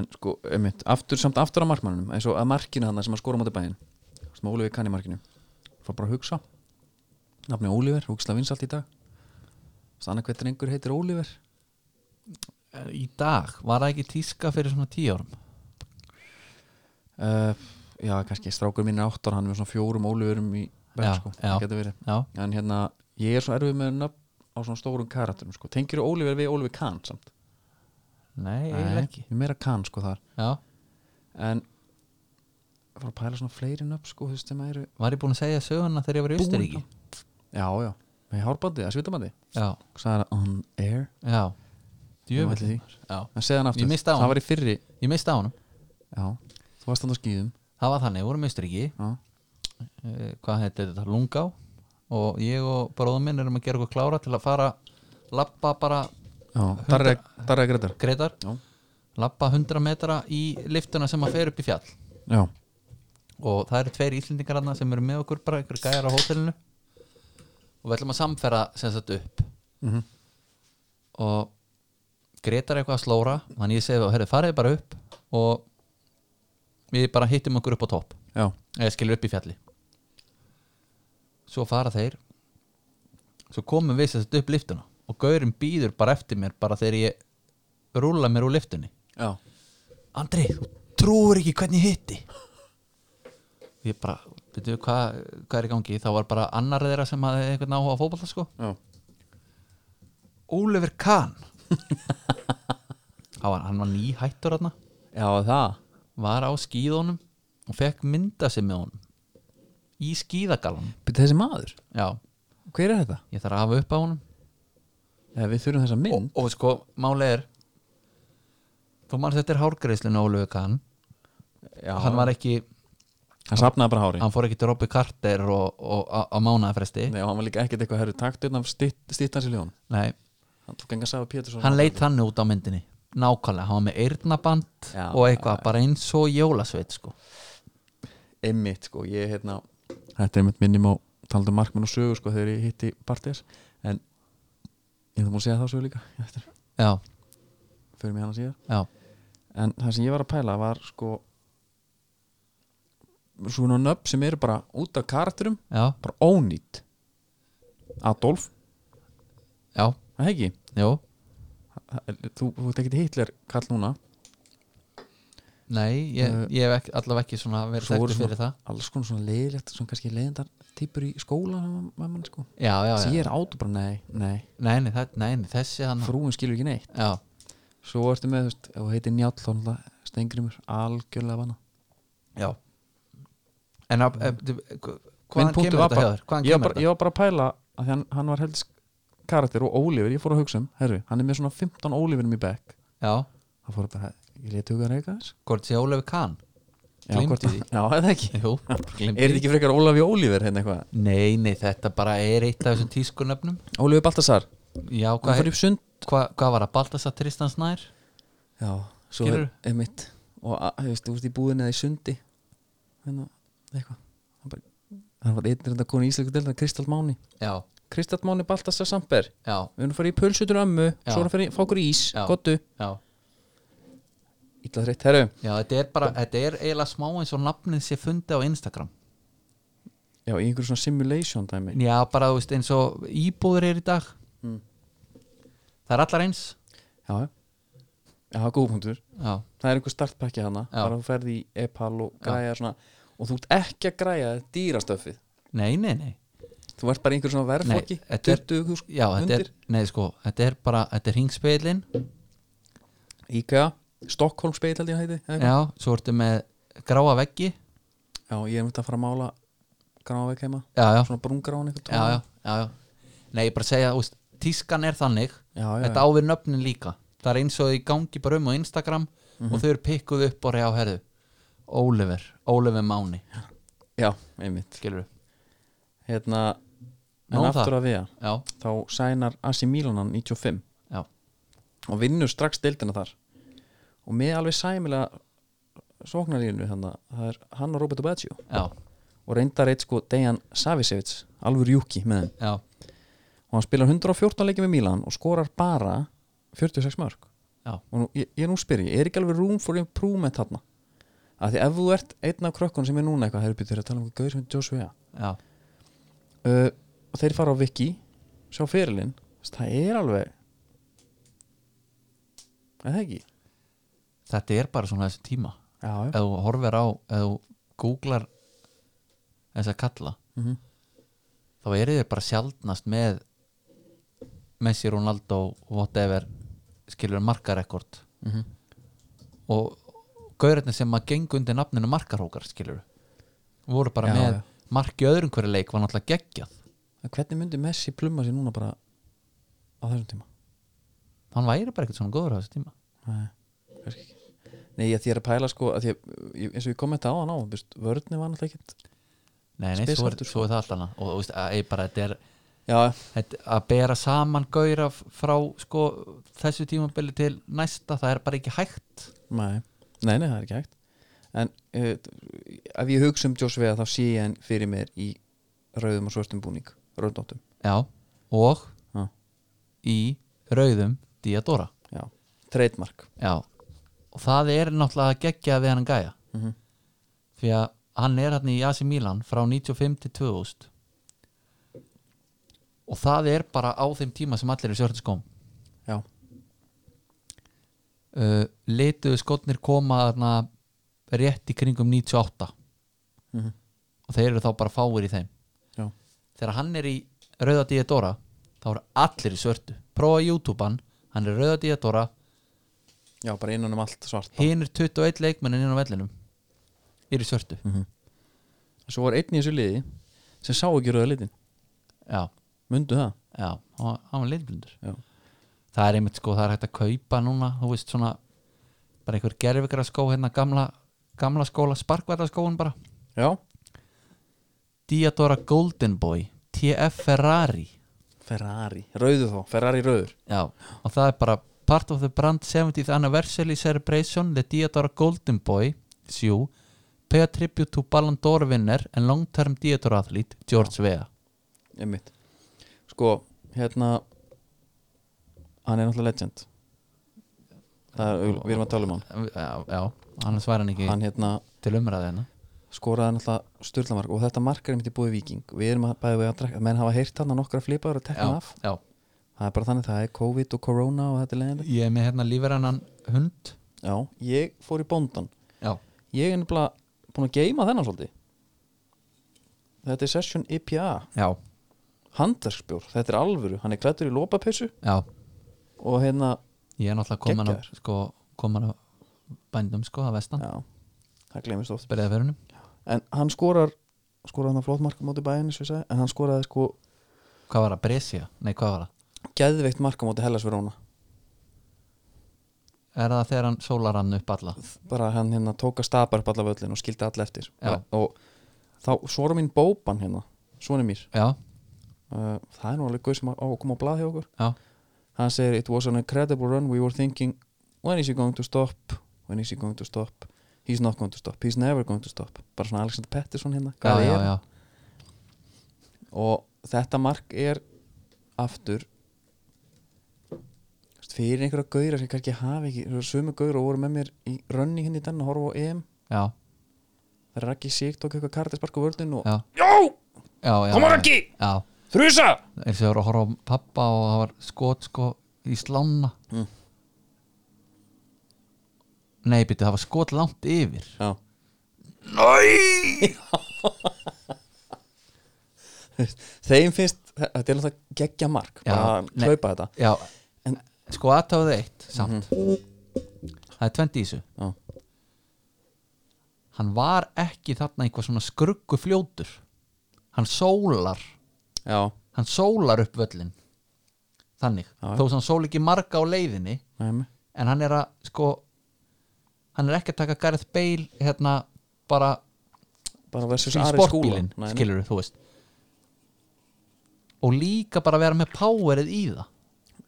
A: en sko, einmitt, aftur, samt aftur á markmannunum eins og að markinu hann sem að skora á móti bæinn sem Óliver kann í markinu fór bara að hugsa nafni Óliver, hugsla vinsalt í dag sanna hvert er einhver heitir Óliver
B: Í dag, var það ekki tíska fyrir svona tíu árum?
A: uh, já, kannski strákur mín er áttar hann er með svona fjórum Óliverum í
B: Já,
A: verð, sko,
B: já.
A: það getur verið
B: Já,
A: en hérna, ég er svo erfið með nöfn á svona stórum karakterum, sko, tengir Óliver við Óliver Kahn samt?
B: nei, eiginlega ekki
A: ég er meira Kahn, sko, þar
B: Já,
A: en ég fór að pæla svona fleiri nöfn, sko, þú veist, sem eru
B: var ég búin að segja söguna þegar ég var í Austuríki?
A: já, já, með hárbandi, að svitabandi
B: Já,
A: sagði það on air
B: já
A: mætti því.
B: Djöfull Já,
A: en segði hann aftur,
B: Ég misti á
A: það
B: honum.
A: var í fyrri
B: ég misti á honum
A: já, þú varst hann á skýðum
B: Það var þannig, við vorum í Austuríki
A: já,
B: eh, hvað heitir þetta, Lungá og ég og bróðum minn erum að gera okkur klára til að fara lappa bara
A: já, Darri Darri Gretar
B: greitar,
A: Já.
B: lappa 100 metra í liftuna sem að fer upp í fjall
A: já,
B: og það eru tveir íslendingar hana sem eru með okkur bara einhver gæjar á hótelinu og við ætlum að samferða sem sagt upp
A: Mhm.
B: og Gretar er eitthvað að slóra þannig ég segi að herri farið bara upp og við bara hittum okkur upp á topp
A: já,
B: eða skilur upp í fjalli svo fara þeir svo komum við sérst upp liftuna og gaurinn býður bara eftir mér bara þegar ég rúla mér úr liftunni
A: já,
B: Andri, þú trúur ekki hvernig ég hitti og ég bara veitum við hvað hva er í gangi þá var bara annar þeirra sem hafði einhvern áhuga á fótballa sko
A: já.
B: Ólefur Kahn Há, hann var nýhættur hann
A: já það
B: var á skíðunum og fekk mynda sig með honum í skíðagalunum
A: Byrja, þessi maður,
B: já
A: hver er þetta?
B: ég þarf að hafa upp á honum
A: Ja, Eh, við þurfum þessa mynd
B: og, og sko, máli er þú mann þetta er hárgreislinu Ólöfu Kahn
A: já,
B: hann var ekki,
A: hann sapnaði bara hári
B: hann fór ekki til Robby Carter og, og á, á mánaðafresti
A: Nei, og hann var líka ekkert eitthvað herru hérna takt utan stýttans í ljón
B: nei,
A: hann tók enga að sagði Pétur
B: hann leit hann út á myndinni nákvæmlega, hann var með eyrnaband
A: Já,
B: og eitthvað, bara eins og jólasveit sko.
A: einmitt sko, ég hérna þetta er einmitt minnum á talandi um markmann og sögu sko þegar ég hitti partíðas en ég það múið að segja þá sögu líka eftir,
B: já,
A: fyrir mig hana síðar
B: já,
A: en það sem ég var að pæla var sko svona nöfn sem eru bara út af karakterum
B: já,
A: bara ónýtt Adolf,
B: já
A: það hekki
B: jú,
A: þú, þú ert ekkert hitlir kall núna
B: nei, ég,
A: Eh,
B: ég hef ekki, allavega ekki svona verið
A: Svo voru
B: þekktur
A: svona-
B: fyrir það
A: alls konar svona leiðilegt, svona kannski leiðindar týpur í skóla með mann sko
B: já, já,
A: sem
B: já,
A: ég er átum bara, nei, nei
B: nei, nei, það, nei, nei þessi hann,
A: frúin skilur ekki neitt
B: já,
A: Svo ertu með, þú veist, ef þú heitir Njáll þá náttúrulega Steingrimur, algjörlega vanna
B: já en að, að,
A: Minn
B: hvaðan
A: punktur
B: kemur
A: var
B: þetta
A: bara-
B: hjá þér? Hvaðan
A: ég, var
B: kemur
A: bara-
B: þetta?
A: ég var bara að pæla að því hann, hann var helst karakter og Ólífur, ég fór að hugsa um herru, hann er með svona 15 Ólífurum í bekk
B: Já,
A: það fór ég bara, ég leti huga að reyka þess
B: hvort sé Ólefur Kahn
A: Já,
B: Gleymdi
A: hvort-
B: því.
A: Já, er það ekki
B: Jú,
A: Er þetta ekki frekar Ólafi Ólífur hérna eitthvað?
B: Nei, nei, þetta bara er eitt af þessum tískunöfnum
A: Ólífur Baltasar,
B: Já,
A: hann
B: hvað
A: fór
B: hva,
A: upp sund
B: hva hvað var það? Baltasar Tristan Snær?
A: Já, svo
B: Skilurðu?
A: er emitt og að- þú veist, þú veist, í búðinni eða í sundi hérna, eitthvað hann bara, hann var einn reynda konu í Ísleiku delina Kristall Máni,
B: Já,
A: Kristall Máni Baltasar Samper
B: já,
A: við erum að fara í pulsutur ömmu
B: Já.
A: svo erum að fara í fá okkur ís,
B: Já.
A: gottu
B: já
A: illa þreytt, herru
B: Já, þetta er bara, þetta er eiginlega smá eins og nafnið sé fundi á Instagram
A: já, í einhverjum svona simulation dæmi
B: Já, bara, þú veist, eins og íbúður er í dag
A: Mm.
B: Það er allar eins
A: já, já, já, góðpunktur
B: Já,
A: það er einhver startpakki hana
B: Já.
A: bara þú ferði í epal og græja svona og þú ert ekki að græja dýrastöfið
B: nei, nei, nei
A: þú ert bara í einhverjum svona verðflokki
B: Nei, þetta er-
A: 20 hús
B: Já, þetta er,
A: hundir,
B: nei, sko, þetta er bara, þetta er ringspeilin
A: IKEA Stockholm speil held ég að heiti eða eitthvað.
B: Já, svo ertu með gráa veggi
A: já, ég er myndið að fara að mála gráveik heima
B: Já, já,
A: svona brúngráin eitthvað
B: já, já, já, já. Nei, ég bara segja, úst, tískan er þannig
A: já, já,
B: þetta áfir nöfnin líka það er eins og þau gangi bara um á Instagram
A: Mhm.
B: og þau eru pikkuð upp og reyja á herðu Oliver, Oliver Máni
A: já, einmitt
B: skilur við,
A: hérna, en
B: Nóg um
A: aftur
B: það.
A: að við
B: já,
A: þá sænar Asi Milanan 95
B: já,
A: og vinnur strax deildina þar og með alveg sæmilega sóknarlínu þannig að það er hann og Roberto Baggio
B: já,
A: og reyndar eitt sko Dejan Savisevic alveg rjúki með þeim
B: já,
A: og hann spilar 114 leikið með Milan og skorar bara 46 mörg
B: Já.
A: og nú, ég, ég nú spyr ég, er ekki alveg room for improvement þarna af því ef þú ert einn af krökkun sem er núna eitthvað, þeir byrjuð að tala um eitthvað gauð sem heitir Joshua
B: já,
A: uh, og þeir fara á Viki sjá fyrirlinn, það er alveg er það ekki?
B: þetta er bara svona þessi tíma
A: Já, já,
B: ef þú horfir á, ef þú googlar þess að kalla
A: Mhm.
B: þá eru þeir bara sjaldnast með Messi, Ronaldo, whatever skilur markarekord
A: Mhm.
B: og gaurarnir sem að gengu undir nafninu markarókar skilur voru bara
A: Já,
B: með
A: já.
B: mark í öðrum hverju leik var náttúrulega geggjað
A: En hvernig myndi Messi plumma sér núna bara á þessum tíma?
B: hann væri bara ekkert svona góður á þessu tíma
A: Nei, kannski ekki Nei, ég, því ég er að pæla sko að því ég, ég, eins og ég kommenta á hann á, veist, vörðni var náttúrulega ekkert
B: nei, nei, svo er,
A: Spesfættur,
B: svo er það allt annað og þú veist, að, ei, bara, þetta er
A: Já,
B: þetta, að bera saman gauðra frá sko, þessu tímabili til næsta það er bara ekki hægt
A: nei, nei, nei, það er ekki hægt En uh, ef ég hugsa um Joshua þá sé ég hann fyrir mér í rauðum og svörtum búning rauðdóttum,
B: já, og
A: Já.
B: í rauðum Diadora
A: já, trademark
B: já. og það er náttúrulega að gegja við hann gæja
A: Mhm.
B: því að hann er hann í AC Milan frá 95 til 2000 og það er bara á þeim tíma sem allir er sjörnskóm
A: Já,
B: uh, letuðu skotnir koma þarna rétt í kringum 98
A: Mhm.
B: og þeir eru þá bara fáir í þeim
A: já,
B: þegar hann er í Rauða Diadora þá eru allir í svörtu prófa YouTube hann, hann er í Rauða Diadora
A: já, bara innan um allt svart bara.
B: hinn er 21 leikmennin inn á vellinum er í svörtu
A: Svo var einn í þessu liði sem sá ekki rauða litin,
B: já,
A: mundu það
B: já, hann var- hann var leitblundur
A: Já.
B: það er einmitt sko, það er hægt að kaupa núna þú veist svona bara einhver gerfikara skó hérna gamla, gamla skóla, sparkvæðaskóin bara
A: Já,
B: Diadora Golden Boy TF Ferrari
A: Ferrari, rauðu þá, Ferrari rauður
B: Já, og það er bara part of the brand 70th anniversary celebration the Diadora Golden Boy sjú, pay a tribute to Ballon d'Or winner and long term Diadora athlete George Vea
A: einmitt sko, hérna hann er náttúrulega legend það er, við erum að tala um hann
B: Já, já annars var hann ekki
A: hann hérna
B: til umræði hennar
A: skoraði náttúrulega styrlamark og þetta mark er einmitt í búið viking við erum að bæða við að drekka, menn hafa heyrt hann að nokkra flipaður og tekna
B: já,
A: af
B: já.
A: það er bara þannig, það er COVID og corona og þetta er leiðinlega
B: Ég er með hérna lífverðanan hund
A: já, ég fór í bóndan
B: Já,
A: ég er nefnilega búin að geima þennan svolítið þetta er session IPA
B: já,
A: handverksbjór, þetta er alvöru hann er klættur í lópapessu
B: já
A: og hérna,
B: Ég er náttúrulega komin að
A: Geggjaður.
B: sko, komin að bændum sko að vestan
A: já, það glemist oft
B: byrjaði fyrir hennum
A: en hann skorar skorar hann að flott marka móti bæinn eins og ég sagði, en hann skoraði sko
B: Hvað var það? Brescia? Nei, hvað var það?
A: geðveikt marka móti Hellas Verona
B: Er það þegar hann sólar hann upp alla?
A: bara hann hérna tók að stapar upp alla völlin og skildi alla eftir
B: Já.
A: bara, og þá svora mín bóban hérna svona mér,
B: Já,
A: uh, það er nú alveg gauð sem á að koma á blað hjá okkur
B: já,
A: hann segir it was an incredible run we were thinking when is he going to stop when is he going to stop he's not going to stop, he's never going to stop bara svona Alexander Pettersson hérna
B: já,
A: hvað
B: já,
A: er
B: já.
A: og þetta mark er aftur þú veist, fyrir einhverja gauðra sem kannski hafi ekki, það eru sömu gauðra og voru með mér í rönni henni í den og horfa á EM
B: já,
A: það er Raggi Sig tók eitthvað kardispark á völdin og
B: já,
D: Jó,
B: já, já
D: Koma,
B: já.
D: Raggi!
B: já,
D: þrjusa
B: eins og ég voru að horfa á pappa og það var skot sko í slána
A: Mm.
B: nei, byrju, það var skot langt yfir
A: já,
D: Næ
A: þeim finnst þe- þetta er alltaf geggja mark
B: Já,
A: bara að
B: nei.
A: hlaupa þetta
B: já,
A: En- Mhm.
B: sko aðtáðu eitt samt það er tvend í þessu
A: Já.
B: hann var ekki þarna eitthvað svona skruggu fljótur hann sólar
A: já,
B: hann sólar upp völlin þannig,
A: Já, já.
B: þó sem hann sól ekki marga á leiðinni
A: næmi
B: en hann er að sko hann er ekki að taka Gareth Bale hérna bara
A: bara
B: í
A: versus Ari skúla
B: sportbílinn skilur þú veist og líka bara vera með powerið í það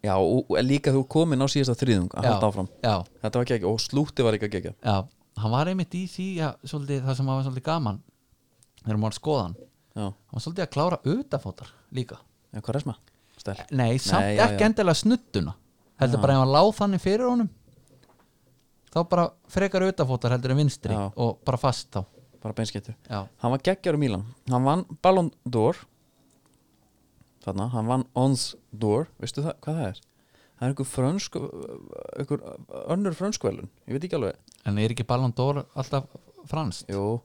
A: já, og og líka þú komin á síðasta þriðung að halda áfram
B: já,
A: þetta var geggja og slúti var líka geggja
B: já, hann var einmitt í því að, svolítið, það sem var svolítið gaman þegar maður skoða hann
A: já,
B: hann var svolítið að klára utafótar líka
A: en hvað resma? stel
B: nei, samt
A: já,
B: ekki
A: já.
B: endilega snuttuna heldur bara að hann láð þannig fyrir honum þá bara frekar auðafótar heldur en vinstri
A: Já.
B: og bara fast þá
A: bara beinskettur
B: já,
A: hann var geggjar um Milan hann vann Ballon d'Or þarna, hann vann Ons d'Or veistu það, hvað það er? það er einhver frönsk einhver önnur frönskvelun, ég veit ekki alveg
B: en er ekki Ballon d'Or alltaf franskt?
A: jú,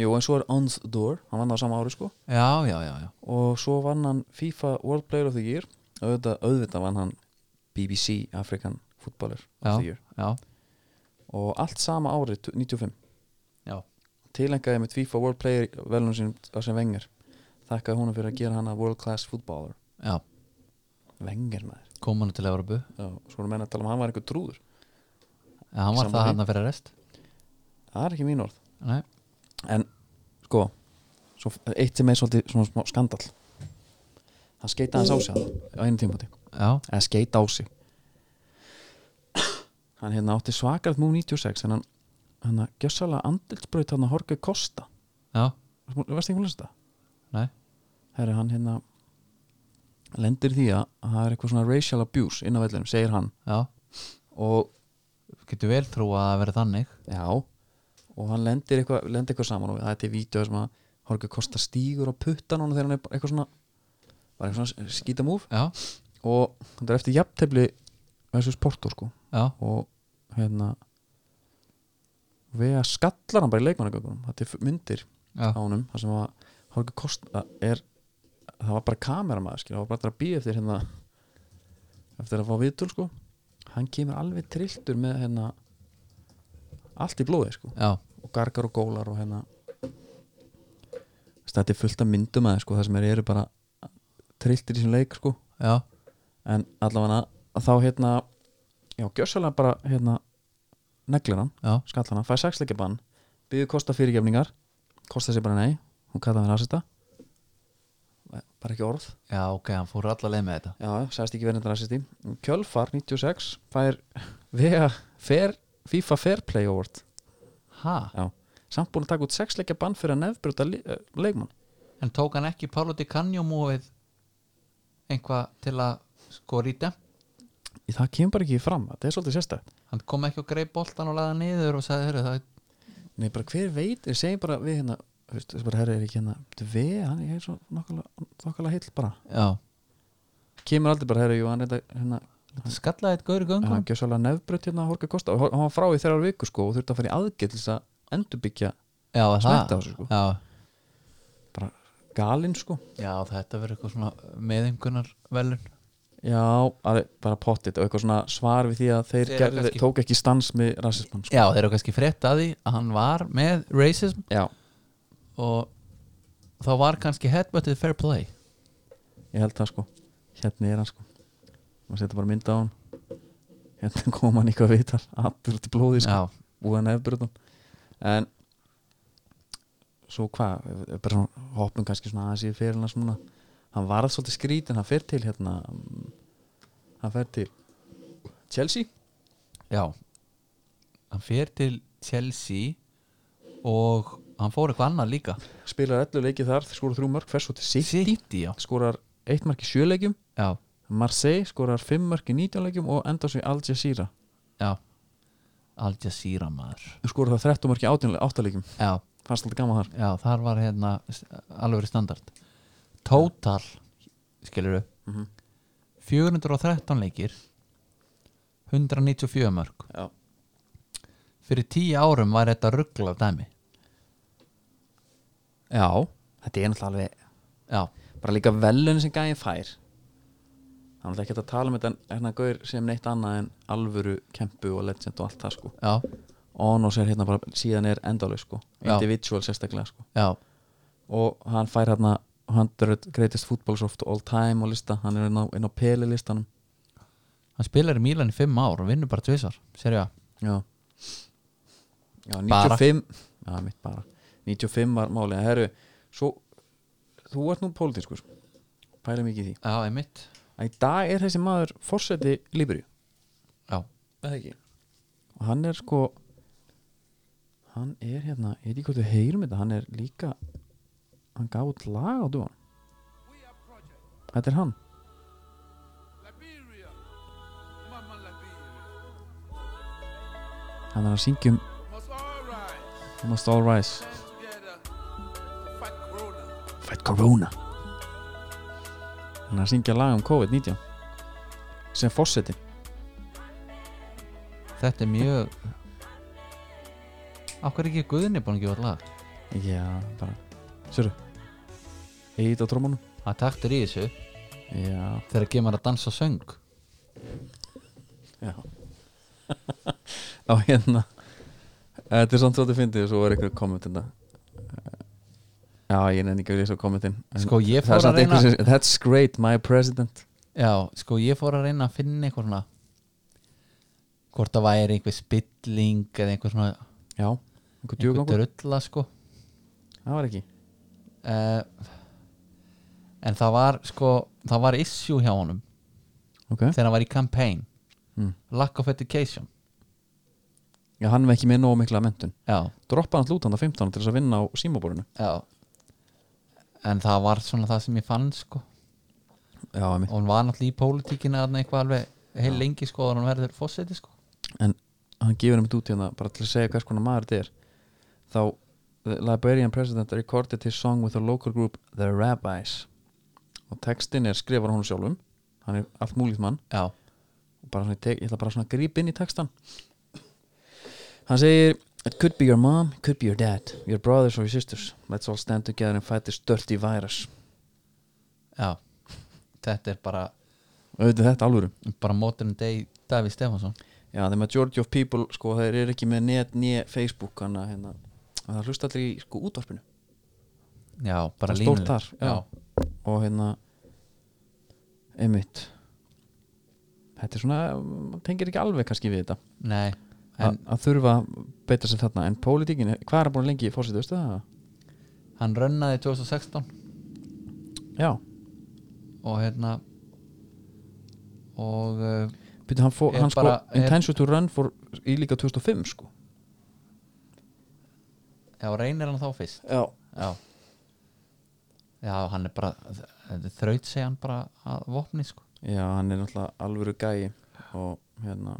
A: jú en svo er Ons d'Or hann vann það á sama ári sko
B: Já, já, já, já
A: og svo vann hann FIFA World Player of the Year auðvitað, auðvitað vann hann BBC African Footballer of the
B: já,
A: Year
B: já,
A: og allt sama ári, 95
B: já.
A: tilengaði með FIFA World Player velunum sín á sem vengar þakkaði húnum fyrir að gera hana World Class Footballer
B: já.
A: vengar maður
B: kom hann til Evropu
A: Já, svo erum menn að tala um að hann var einhver trúður
B: en hann var
A: Sammála
B: það
A: því.
B: hann að fyrir rest
A: það er ekki mín orð
B: Nei.
A: en sko, svo, eitt sem er svolítið svona smá skandal hann skeita hans á sig hann á einu tímpati
B: já,
A: eða skeita á sig hann hérna átti svakarð mú 96 en hann, hann að gjössalega andilsbraut hann að horga kosta
B: já,
A: veist ekki hún lesta?
B: nei
A: herri hann hérna lendir í því að að það er eitthvað svona racial abuse inn á vellinum, segir hann
B: já,
A: og
B: getur vel trú að vera þannig
A: já og hann lendir eitthvað, lendir eitthvað saman og það er til vídeo sem að Horka Kosta stígur á puttan hann þegar hann er bara eitthvað svona var eitthvað svona skítamúf
B: já,
A: og hann er eftir jafntefli versus Porto sko
B: já,
A: og hérna við að skallar hann bara í leikmannagökunum það er til myndir
B: já,
A: á honum það sem að Horka Kosta er það var bara kameramæður skil, það var bara að býja eftir hérna eftir að fá viðtul sko hann kemur alveg trilltur með hérna allt í blóði sko
B: já,
A: og gargar og gólar og hérna Þess, þetta er fullt af myndum aðeins sko það sem er eru bara trilltir í sem leik sko
B: já,
A: en allavega þá hérna já, gjössalega bara hérna neglir hann,
B: já,
A: skall hann, fæði sexleikja bann byggðu kosta fyrirgefningar kosta sér bara nei, hún kallaði hann rasista bara ekki orð
B: já, ok, hann fór allar leið með þetta
A: já, sagðist ekki verið þetta rasisti Kjölfar 96 fær vega fair, FIFA Fair Play Award
B: ha,
A: já, samt búin að taka út sexleikja bann fyrir að nefnbrjóta le eh, leikmann
B: en tók hann ekki Paolo Di Canio múið einhvað til að sko rýta
A: Í það kemur bara ekki fram, þetta er svolítið sérstætt
B: hann kom ekki og greið boltan og laða hann niður og sagði, heyrðu, það
A: nei, bara hver veit, ég segi bara við hérna þú veist, þessi bara herri er ekki hérna við, hann er svo nokkala heill bara
B: já,
A: kemur aldrei bara, herru, jú, hann reynda hérna,
B: þetta skallaði eitt gaur í
A: hann
B: göngunum
A: hafði svolítið nefnbröð hérna að horka kosta og hann var frá í þrjár viku sko og þurfti að fara í aðgerð til þess að endurbyggja
B: já, er
A: smætti á
B: það
A: sig, sko.
B: já,
A: bara galinn sko
B: já, þetta verður eitthvað svona meðingunar velun
A: já, að, bara pottit og eitthvað svona svar við því að þeir
B: Þeir eru
A: gerði,
B: kannski-
A: tók ekki stans með rasismann sko.
B: já, þeir eru kannski frétt að því að hann var með racism
A: já,
B: og þá var kannski headbutted fair play
A: ég held það sko hérna er hann sko maður setja bara mynda á hann hérna kom hann eitthvað viðtal allur til blóði sko,
B: já,
A: búið hann efbrutum en svo hvað, bara svona hoppum kannski svona aðeins í fyrirlega svona hann varð svolítið skrítinn, hann fer til hérna mm, hann fer til Chelsea
B: já hann fer til Chelsea og hann fór eitthvað annað líka
A: spilar 11 leikið þar, skorar 3 mörg fer svo til City,
B: City, já,
A: skorar 1 mörg í 7 leikjum
B: já,
A: Marseille skorar 5 mörg í 19 leikjum og enda svo í Al Jazeera
B: já Al Jazeera maður
A: skorar það 13 mörg í 18 le- 8 leikjum
B: já,
A: fannst alltaf gaman þar
B: já, þar var hérna s- alveg standard total, skilur við 413 leikir 194 mörg
A: Já.
B: fyrir 10 árum var þetta ruggla dæmi
A: Já, þetta er náttúrulega alveg
B: já,
A: bara líka velun sem gæði fær Það er náttúrulega ekki hægt að tala um þetta en hérna gauður sem neitt annað en alvöru kempu og legend og allt það sko
B: já,
A: Onos er hérna bara síðan er endaleg sko
B: Já.
A: individual sérstaklega sko
B: já,
A: og hann fær hérna 100 greatest footballs of all time og lista, hann er inn á, inn á peli listanum
B: hann spilar í Mílan í 5 ár og vinnur bara tvisar, serja
A: Já Já,
B: Bara.
A: 95 Já, mitt bara 95 var málið að herru Svo, þú ert nú pólitískur Pæla mikið í því
B: já, einmitt
A: að Í dag er þessi maður forseti Líbríu
B: já,
A: Það ekki Og hann er sko Hann er hérna, ég veit ekki hvað þú heyrum þetta Hann er líka Hann gaf út lag á dúan Þetta er hann
E: Liberia, Mama Liberia.
A: hann er að syngjum We must all rise Fight Corona hann er að syngja lag um COVID-19 sem fórseti
B: Þetta er mjög Akkur er ekki Guðinni búin að gefa lag
A: já, bara, sörru Egið á trómanum
B: Það er taktur í
A: já,
B: þessu þegar gemar að dansa söng
A: já á hérna þetta er samt svo að þetta fyndið svo er eitthvað kommentina hérna. Eh, já, ég nefn ekki að lýsa kommentin en
B: Sko, ég
A: það er
B: fór að
A: samt
B: reyna-
A: einhver sem- That's great, my president
B: Já, sko ég fór að reyna að finna eitthvað svona hvort það væri einhver spilling eða einhver svona
A: já, einhver
B: einhver
A: djúgangur,
B: drulla sko
A: það var ekki
B: uh, en það var sko það var issue hjá honum
A: ok,
B: þegar hann var í campaign Hmm.
A: Mm.
B: lack of education
A: já, hann var ekki með nóg mikla mentun
B: já,
A: droppa hann lútanda 15 til þess að vinna á símaborinu
B: já en það var svona það sem ég fann sko
A: já, emi.
B: og hann var náttúrulega í pólitíkina þarna eitthvað alveg heil lengi sko og hann verður fósetti sko
A: en hann gefur einmitt út hérna bara til að segja hvers konar maður þetta er þá, the Liberian president recorded his song with a local group The Rabbis og textin er skrifar hún sjálfum hann er allt múlíkt mann
B: já,
A: og bara svona, ég tek, ég ætla bara svona að grípa inn í textan hann segir It could be your mom, it could be your dad your brothers or your sisters let's all stand together and fight this dirty virus
B: já þetta er bara,
A: og auðvitað þetta alvöru
B: bara modern day Davíð Stefánsson
A: Já, the majority of people, sko, þeir eru ekki með net nýja Facebook, hann að hérna að það hlusta allir í, sko, útvarpinu
B: já, bara
A: Það er stórt
B: línuleg.
A: þar, já.
B: já,
A: og hérna einmitt þetta er svona, maður tengir ekki alveg kannski við þetta,
B: nei
A: en,
B: en
A: að þurfa að betra sér þarna, en pólitíkin, hvað er að búin lengi í fórseti, veistu það?
B: hann rönnaði 2016
A: Já,
B: og hérna og uh,
A: byrju, hann, fó,
B: Er
A: hann
B: bara-
A: sko
B: er-
A: intention to run for í líka 2005, sko
B: já, reynir hann þá fyrst
A: Já,
B: já já, hann er bara þraut segja hann bara að vopni sko
A: já hann er náttúrulega alvöru gæi og hérna,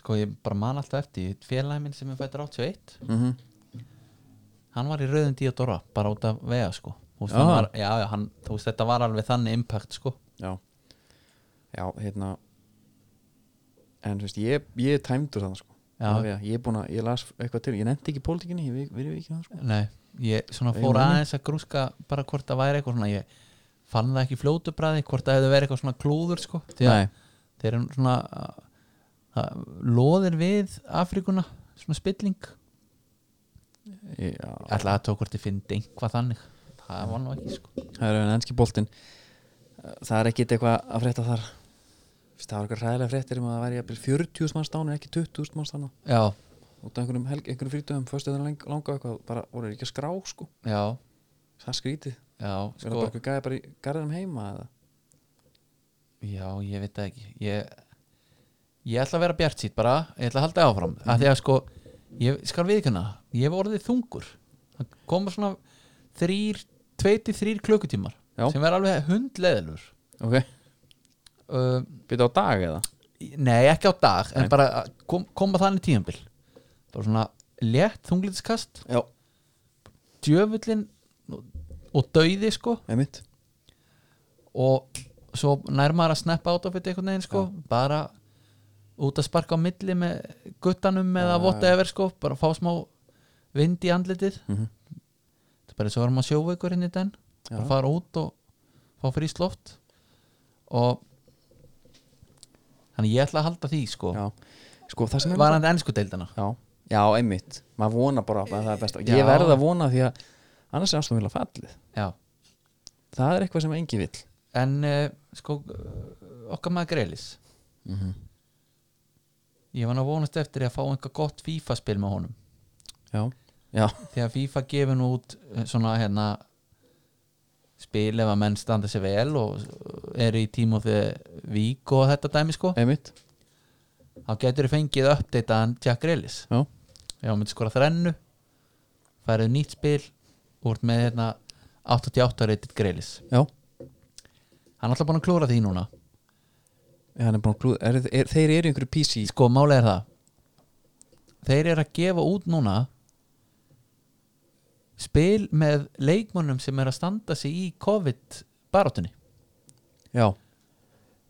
B: sko ég bara man alltaf eftir félagi minn sem er fættur 81
A: mhm
B: hann var í rauðum díadora bara út af vega sko Þú
A: Já.
B: veist, hann var, já, já, hann, þú veist þetta var alveg þannig impact sko
A: Já Já, hérna En þú veist, ég, ég er tæmdur þannig sko
B: Já.
A: Alveg að Ég er búin að, ég las eitthvað til Ég nefndi ekki pólitíkinni, ég vi- verið ekki það sko
B: Nei, ég svona
A: Ég
B: fór
A: man
B: aðeins að grúska bara hvort það væri eitthvað svona ég fann það ekki í fljótu bræði hvort það hefði verið eitthvað svona klúður sko því að þeir eru svona að- að loðir við Afríkuna svona spilling
A: Já,
B: ætla að tók hvort þið fyndi einhvað þannig það var nú ekki sko
A: það er enn ennski boltinn Eh, Það er ekkit eitthvað að frétta þar Þú veist, Það var eitthvað ræðilega fréttir um að það væri jafnvel 40.000 manns dánu ekki 20.000 manns dánu
B: já,
A: út af einhverjum, helg, einhverjum frítöðum föstu þeirra lang, langa og eitthvað bara voru þeir ekki að skrá sko
B: já,
A: það er skrítið
B: já
A: verður
B: sko,
A: bara eitthvað gæði bara í garðinum heima eða
B: já, ég veit það ekki ég, ég ætla að vera bjart sýtt bara ég ætla að halda áfram að því að sko, ég skal viðkjöna ég hef orðið þungur það koma svona þrýr, tvei til þrýr klukkutímar
A: Já.
B: sem er alveg hundleðilur
A: Ok,
B: uh,
A: byrja á dag eða
B: Nei, ekki á dag, en bara að kom, koma þannig tíðanbil Bara svona létt þunglitiskast
A: Já,
B: Djöfullin og- og dauði sko
A: einmitt
B: Og svo nær maður að snappa át á fyrir einhvern veginn sko Bara út að sparka á milli með guttanum eða whatever sko Bara fá smá vind í andlitið
A: Mhm.
B: Þetta er bara svo erum að sjóveikur henni den Bara fara út og fá fríst loft Og Þannig ég ætla að halda því sko
A: Já, sko það sem er
B: Var hann ennsku deildina?
A: Já, já einmitt maður vona bara að það er best
B: Já.
A: ég verð að vona því að annars er áslum vilja fallið
B: Já
A: það er eitthvað sem engi vill
B: En uh, sko uh, okkar maður Grelis
A: Mhm.
B: Ég var nú að vonast eftir að fá einhver gott FIFA spil með honum
A: já, já,
B: Þegar FIFA gefur nú út eh, svona hérna spil ef að menn standa sér vel og eh, eru í tíma og þegar vík og þetta dæmi sko
A: einmitt
B: þá getur þið fengið uppdeitaðan Jack Grelis
A: já,
B: Já, myndi skora þrennu færið nýtt spil og ert með hérna 88 reytið Grelis
A: já,
B: Hann er alltaf búin að klóra því núna
A: hann er búin að klúða er, er, Þeir eru í einhverju PC
B: sko málega er það þeir eru að gefa út núna spil með leikmönnum sem er að standa sig í COVID barátunni
A: Já,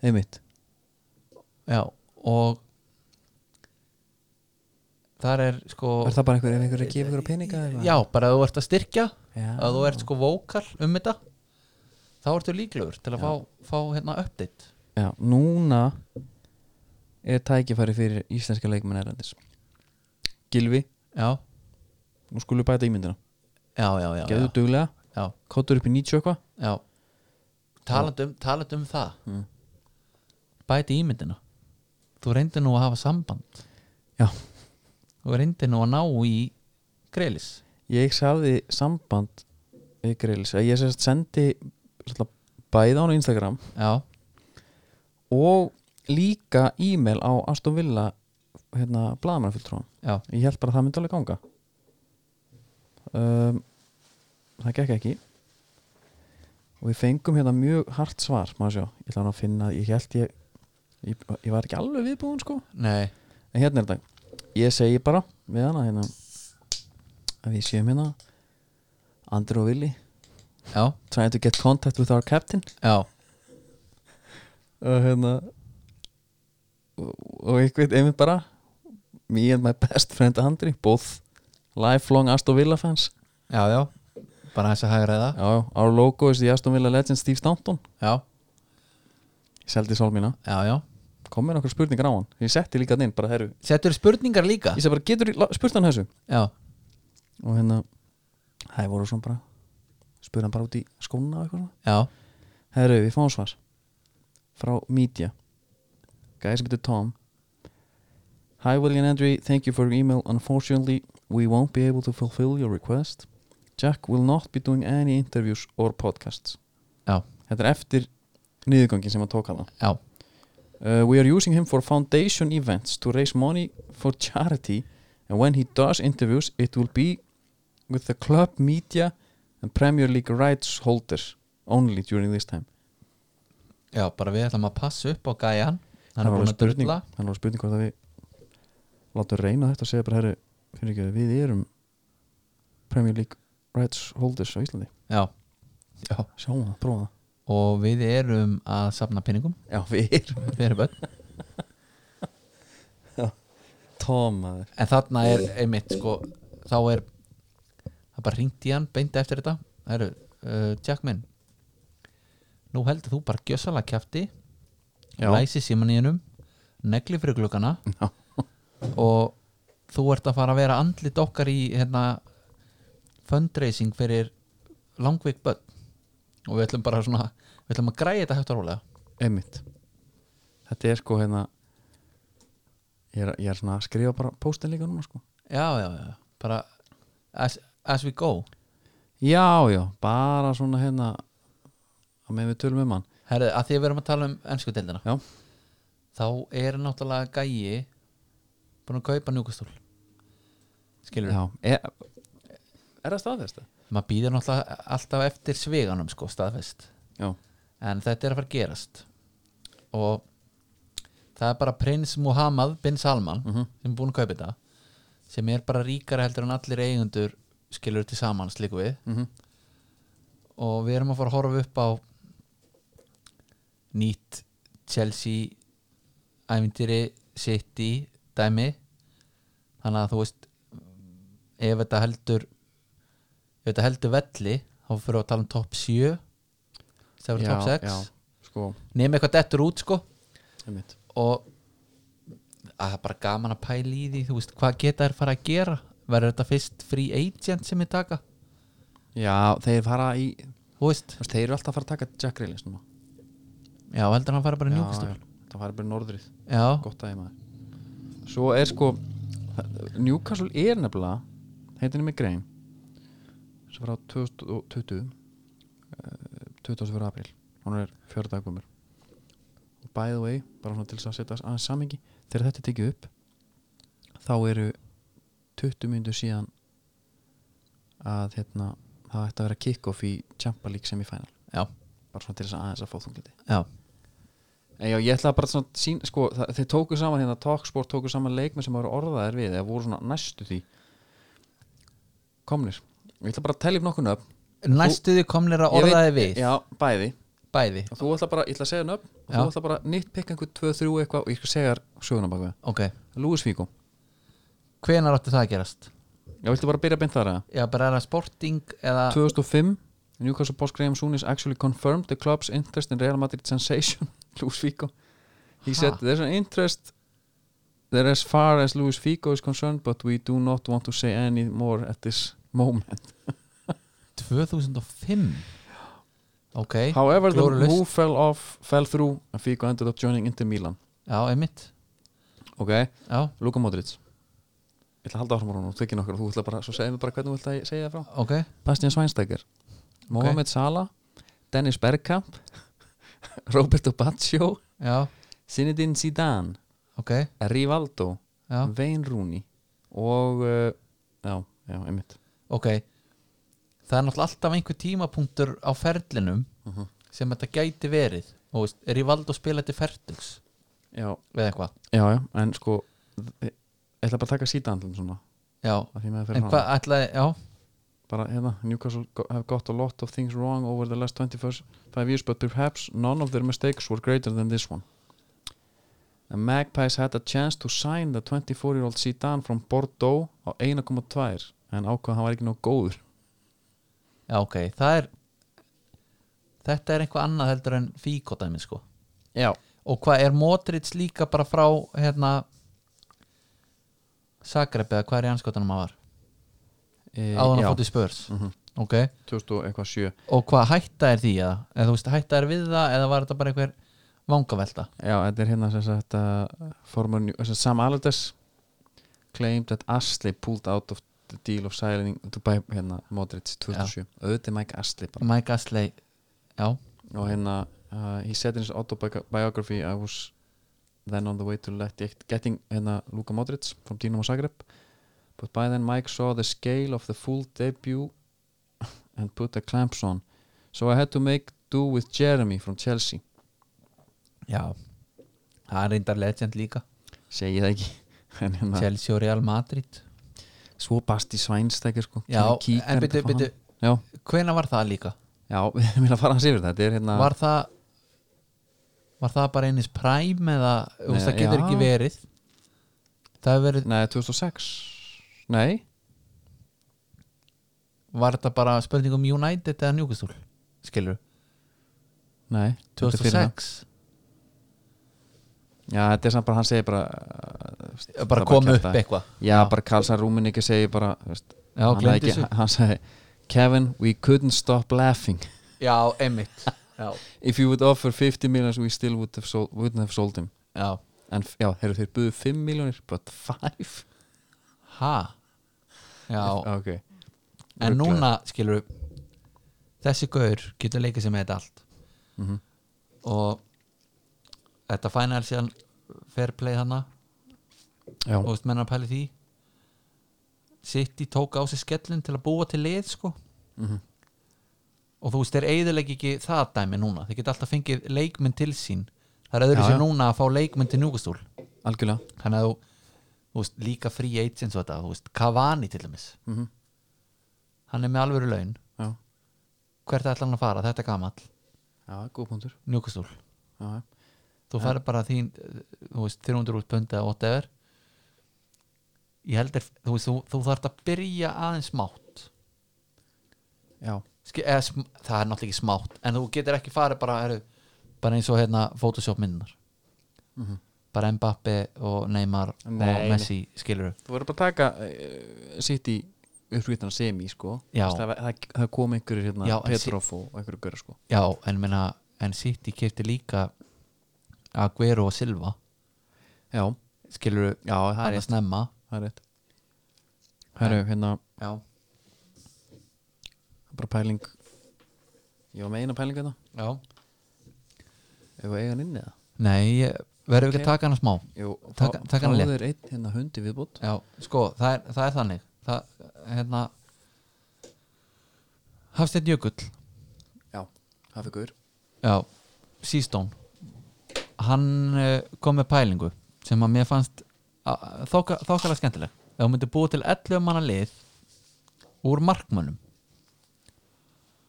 A: einmitt
B: já, og þar er sko
A: Er það bara einhver, ef einhver er að gefa einhverju peninga eða eitthvað?
B: já, bara að þú ert að styrkja
A: Já.
B: að þú ert sko vókal um þetta þá ertu líklegur til að fá, fá hérna update
A: já, núna er tækifæri fyrir íslenska leikmenn erlendis Gilvi,
B: já,
A: nú skulum við bæta ímyndina
B: já, já, já,
A: Geðu
B: já,
A: duglega,
B: já,
A: kóttur upp í 90 og eitthvað
B: já. Talandi, um, talandi um það mm. bæti ímyndina þú reyndir nú að hafa samband
A: Já,
B: þú reyndir nú að ná í greilis
A: ég sagði samband við Grills að ég sérst sendi sérst, bæða hann á Instagram
B: já,
A: og líka e-mail á Aston Villa hérna, blaðamannfjöldtrón
B: já,
A: ég held bara að það myndi alveg ganga um, það gekk ekki og við fengum hérna mjög hart svar maður sjá, ég ætla hann að finna ég held ég, ég, ég var ekki alveg viðbúin sko,
B: nei
A: en hérna er þetta ég segi bara við hana hérna að við séum hérna Andri og Willi
B: já,
A: trying to get contact with our captain
B: já,
A: og hérna og, og einhvern einmitt bara me and my best friend Andri both lifelong Aston Villa fans
B: já, já bara þess að hægra það
A: já, já, our logo is the Aston Villa legend Steve Staunton
B: já,
A: ég seldi sál mína,
B: já, já
A: kom mér okkur spurningar á hann ég setti líka hann inn, bara herru
B: settur spurningar líka
A: ég segi bara, getur la- spurt hann þessu
B: já,
A: og hérna, það voru svona bara spurði hann bara út í skóna og eitthvað svona
B: já,
A: Herru, við fáum svar Frá Media Guy sem heitir Tom Hi Willie and Andrew, thank you for your email Unfortunately, we won't be able to fulfill your request Jack will not be doing any interviews or podcasts
B: Já.
A: Þetta er eftir niðurgangin sem hann tók hana
B: já,
A: uh, We are using him for foundation events to raise money for charity and when he does interviews it will be with the club media and Premier League rights holders only during this time
B: já bara við ætlum að passa upp á gæjan hann
A: Það var
B: er búin
A: alveg
B: að drulla
A: það er alveg spurning hvort að við látum reyna þetta og segja bara herri, fyrir ekki, við erum Premier League Rights Holders á Íslandi
B: já, já,
A: sjáum það, prófa það
B: og við erum að safna pinningum
A: já, við erum
B: fyrir börn
A: tómaður
B: en þarna er einmitt sko þá er það bara ringt í hann beint eftir þetta það eru uh, Jack minn nú heldur þú bara gjössalega kjafti
A: Já.
B: læsi síman í hennum negli fyrir glukkana og þú ert að fara að vera andlit okkar í hérna fundraising fyrir langveik börn og við ætlum bara svona við ætlum að græja þetta hægt og rólega
A: einmitt þetta er sko hérna ég er, ég er svona að skrifa bara póstin líka núna sko
B: já, já, já, bara as, as we go
A: já, já, bara svona hérna að með við tölum um hann
B: Herðu, að því að við erum að tala um ennsku deildina
A: já,
B: þá er náttúrulega gæi búin að kaupa njúkastúl skilur
A: já e- er, er það staðfesta?
B: maður býður náttúrulega alltaf eftir sveganum sko staðfest
A: já,
B: en þetta er að fara að gerast og það er bara prins Muhammad bin Salman
A: Mhm.
B: sem er búin að kaupa þetta sem er bara ríkara heldur en allir eigundur skilur til samans líku við
A: Mhm.
B: og við erum að fara að horfa upp á nýtt Chelsea ævindýri City dæmi þannig að þú veist ef þetta heldur ef þetta heldur velli þá fyrir við að tala um top 7 það verður
A: já,
B: top 6
A: já, sko,
B: nema eitthvað dettur út sko
A: einmitt
B: og að það er bara gaman að pæla í því þú veist hvað geta þær fara að gera verður þetta fyrst free agent sem ég taka
A: Já, þeir fara í þú
B: þú veist,
A: veist, Þeir eru alltaf að fara að taka Jack Grealish núna
B: já heldur hann fara bara
A: Já,
B: njúkastur já,
A: já, Það fara bara í norðrið,
B: já,
A: gott aðeins maður Svo er sko Newcastle er nefnilega heitinni með grein sem frá 2020 eh, 24. apríl hún er fjörða dagumur by the way, bara svona til þess að setja aðeins samingi þegar þetta er tekið upp þá eru 20 myndu síðan að hérna, það ætti að vera kick-off í Champa League semifinal
B: já,
A: bara svona til þess að aðeins að fá þungliti
B: já
A: En já, ég ætla bara svona sín, sko, það, þeir tóku saman hérna Talksport tóku saman leikmenn sem voru orðaðir við eða voru svona næstu því komnir Ég ætla bara að telja upp nokkuð nöfn
B: næstuði komnir að
A: Ég veit-
B: orðaði við
A: Já, bæði
B: bæði,
A: og þú ætla bara, ég ætla að segja nöfn og
B: Já.
A: þú ætla bara nýtt pikk einhver 2-3 eitthvað og ég skal segja þér söguna bak við
B: ok
A: Lúis Fíko,
B: hvenar átti það að gerast?
A: já, viltu bara byrja beint þar að
B: Já, bara er það sporting eða
A: 2005, Newcastle boss Graham Soon is actually confirmed the club's interest in Real Madrid sensation, Luis Figo he said
B: Ha?
A: there's an interest there as far as Luis Figo is concerned but we do not want to say any more at this moment
B: 2005 ok,
A: however the
B: glórulaust.
A: move fell off fell through and Figo ended up joining Inter Milan
B: já, einmitt
A: ok,
B: já,
A: Luka Modric ég ætla að halda áfram á honum, þú ekki nokkur þú ætla bara, svo segja mér bara hvernig þú ætla að segja það frá
B: ok,
A: Bastian Schweinsteiger Mohamed Salah Dennis Bergkamp Roberto Baccio
B: já,
A: Zinedine Zidane
B: ok
A: Rivaldo,
B: já,
A: Wayne Rooney og uh, já, já, einmitt
B: ok það er náttúrulega alltaf einhver tímapunktur á ferlinum
A: Mhm.
B: sem þetta gæti verið og veist, er í vald að spila þetta ferdugs
A: já,
B: eða eitthvað,
A: já, já, en sko ég ætla bara að taka Zidane svona,
B: já
A: að því með fyrir
B: en
A: hann
B: hvað ætlaði, já,
A: bara hérna, Newcastle go- have got a lot of things wrong over the last 25 years but perhaps none of their mistakes were greater than this one The Magpies had a chance to sign the 24 year old Zidane from Bordeaux á 1,2 en ákvað hann var ekki nóg góður
B: já, ok það er þetta er einhvað annað heldur en fíkotæmi sko
A: Já,
B: og hvað er Modric líka bara frá hérna Zagreb eða hvað er í anskotanum að var
A: e,
B: áðan að
A: já
B: fóttu spörs
A: Mhm.
B: ok,
A: 2007
B: og hvað hætta er því eða, eða þú veist hætta er við það eða var þetta bara einhver vangavelta
A: Já, þetta er hérna sem sagt uh, former, New- sem sagt, Sam Allardyce claimed that Astley pulled out of the deal of signing to buy hérna Modric 2007 auðvitað er Mike Astley bara
B: Mike Astley já,
A: og hérna uh, he said in his autobiography I was then on the way to let getting hérna Luka Modric from Dinamo Zagreb but by then Mike saw the scale of the full debut and put the clamps on so I had to make do with Jeremy from Chelsea
B: já það er reyndar legend líka
A: segi það ekki en hérna
B: Chelsea og Real Madrid
A: svo basti svænstækir sko
B: já,
A: Kíkar
B: en
A: þetta
B: byrju,
A: frá hann.
B: byrju
A: já,
B: hvena var það líka?
A: já, við erum að fara hans yfir það þetta er hérna
B: var það var það bara einnis prime eða þú
A: Nei,
B: veist það getur
A: já.
B: ekki verið það hefur verið
A: nei, 2006 nei,
B: var þetta bara spurning um United eða Newcastle skilur,
A: nei þetta er fyrir það.
B: 2006
A: já, þetta er samt bara, hann segir bara uh, veist, það
B: bara kom upp
A: kjaftaði.
B: eitthvað
A: Já, bara Karlsson Rúmenicke segi bara þú veist,
B: Já,
A: hann,
B: gleymdi
A: ekki,
B: þessu.
A: hann segi Kevin, we couldn't stop laughing
B: já, einmitt já,
A: If you would offer 50 millions we still would have sold, wouldn't have sold him
B: já,
A: En f- já, heyrðu, þeir buðu 5 miljonir but 5
B: ha já,
A: okay.
B: en
A: Ruglaður.
B: núna skilur þessi gaur getur leikið sem þetta allt
A: Mhm.
B: og þetta final síðan fair play hana
A: Já,
B: og veist menna að pæli því City tók á sig skellin til að búa til lið sko
A: Mhm.
B: og þú veist þeir eiðilegi ekki það dæmi núna þeir geta alltaf fengið leikmynd til sín það er öðru
A: Já,
B: sér
A: já.
B: núna að fá leikmynd til njúkastúl
A: algjörlega
B: þannig að þú, þú veist, líka free agents og þetta, þú veist, Cavani til dæmis
A: Mhm.
B: hann er með alvöru laun
A: Já,
B: hvert ætlar hann að fara, þetta er gamall
A: já góð punktur
B: njúkastúl,
A: já, já.
B: þú ja. færi bara þín eh, þú veist, 300 út pund eða whatever ég held er þú, veist, þú, þú þarft að byrja aðeins smátt
A: já,
B: Ski, eða, sm- það er náttúrulega ekki smátt en þú getur ekki farið bara heru, bara eins og hérna Photoshop myndunar bara Mbappe og Neymar
A: Mhm. Nei,
B: og Messi skilur
A: Þú verður bara að taka uh, sitt í uppskriftina semi, sko
B: Já.
A: Þú veist, það, það, það kom einhverjir hérna,
B: Já, en
A: Petrov og og einhverjir görður, sko
B: já en minna en City kefti líka Aguero og Silva
A: Já,
B: skilur
A: já, það er
B: hann að
A: rétt
B: snemma
A: Það er rétt Herru, hérna
B: já,
A: bara pæling ég var með eina pælingu þetta
B: já.
A: ef við eiga hann inni eða
B: nei, ég- verðum við ekki að taka hann smá
A: Jú,
B: Taka- taka hann létt.
A: er einn hérna hundi viðbútt
B: já, sko, það er, það er þannig það, hérna Hafsteinn Jökull
A: já, það fyrir guður
B: Já, Seastone hann eh, kom með pælingu sem að mér fannst a- þoka- þokkalega skemmtileg ef hún myndi búa til 11 manna lið úr markmönnum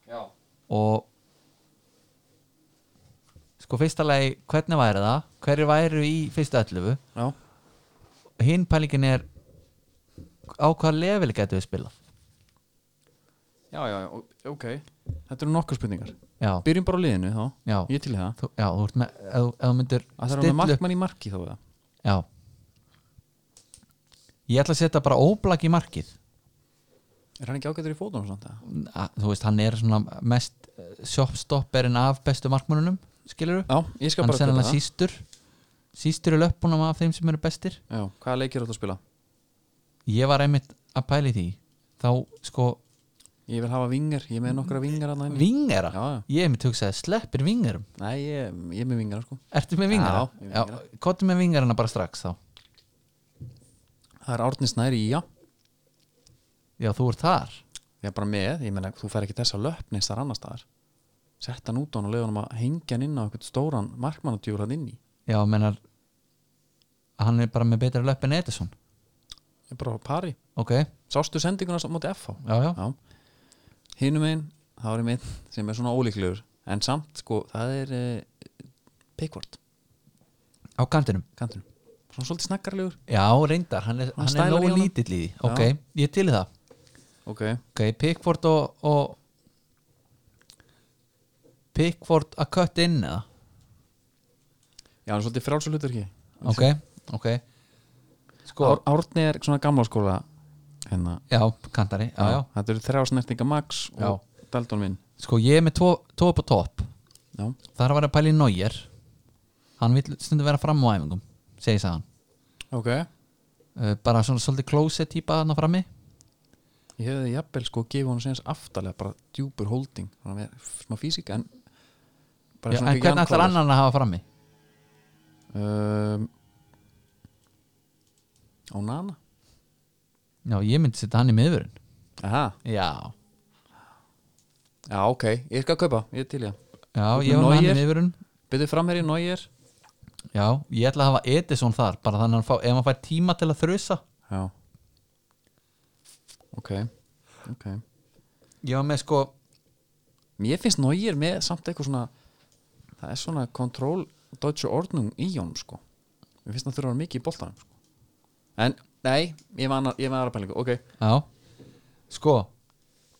B: Já. og sko fyrsta lagi hvernig væri það, hverju væru í fyrstu 11
A: Já,
B: hinn pælingin er á hvaða level getum við spilað
A: já, já, já, ok Þetta eru nokkuð spurningar
B: já,
A: Byrjum bara á liðinu þá,
B: já,
A: ég til í það
B: þú, já, þú ert með ef, ef þú myndir
A: Það er hann með
B: stilla upp-
A: markmann í marki þá eða
B: já ég ætla að setja bara óblag í markið
A: Er hann ekki ágættur í fótum og svona það?
B: að, þú veist, hann er svona mest eh, shopstopperinn af bestu markmannunum skilur
A: Já, ég skal
B: hann
A: bara
B: er
A: kaupa
B: hann sístur sístur í löpunum af þeim sem eru bestir
A: Já, hvaða leikir áttu að spila?
B: ég var einmitt að pæli því þá sko,
A: Ég vil hafa vingar, ég er með nokkra vingar að næmi
B: vingera
A: Já, já.
B: ég hef mitt hugsaði, sleppir vingerum
A: Nei, ég, ég er með vingar sko
B: ertu með vingera?
A: Já, ég er með
B: kottu með vingerina bara strax þá
A: Það er Árni Snæri, já
B: já, þú ert þar
A: Ég er bara með, ég meina, þú fær ekki þessa löpni eins þar annar staðar Sett hann út á hann og leiða hann að hengja hann inn á eitthvað stóran markmannatjúl hann inn í
B: já, mennar hann er bara með betra löpp en Edison
A: Ég er bara á pari
B: ok, já,
A: Sástu sendinguna á móti FH?
B: já,
A: Já Hinum einn, það var einn sem er svona ólíklegur En samt, sko, það er eh, Pickford,
B: á kantinum
A: kantinum Svona svolítið snakkarlegur
B: já, reyndar, hann er,
A: Hann
B: hann er
A: stælar í
B: nógu
A: honum.
B: lítill í því ok, ég er til í það
A: Ok,
B: Ok, Pickford og, og Pickford að kött inn eða
A: já, hann er svolítið frálsulutur ekki
B: Ok, ok Sko,
A: Ár, Árni er svona gamla skóla Hérna
B: já, kantari já, já.
A: Þetta eru þrjá snertinga Max og Dalton minn
B: Sko, ég er með tvo, tvo upp á topp
A: Já,
B: Það er að vera pæli Nóir Hann vil stundum vera fram á æfingum segir sagði hann
A: ok
B: Uh, Bara svona svolítið closet típa þarna frammi
A: Ég hefði jafnvel sko gefið honum séns aftalega bara djúpur holding svona með smá físika en bara
B: já, En
A: svona ekki
B: hvernig
A: andkvalir.
B: ætlar annan að hafa frammi?
A: um, Á nana
B: Já, ég myndi setja hann í miðurinn
A: Aha,
B: Já,
A: já ok, ég skal kaupa, ég er til ég
B: já,
A: Út með
B: ég var með hann í
A: Neuer.
B: miðurinn
A: Byrðu framherri Nóir
B: Já, ég ætla að hafa Edison þar bara þannig að hann fá, ef hann fær tíma til að þrjusa
A: Já Ok, ok
B: Ég var með sko
A: Mér finnst Nóir með samt eitthvað svona það er svona kontról deutsche ordnung í honum sko Mér finnst það þurfa að vera mikið í boltanum sko En, nei, ég var annar, ég var aðra pælingu, ok
B: Já Sko,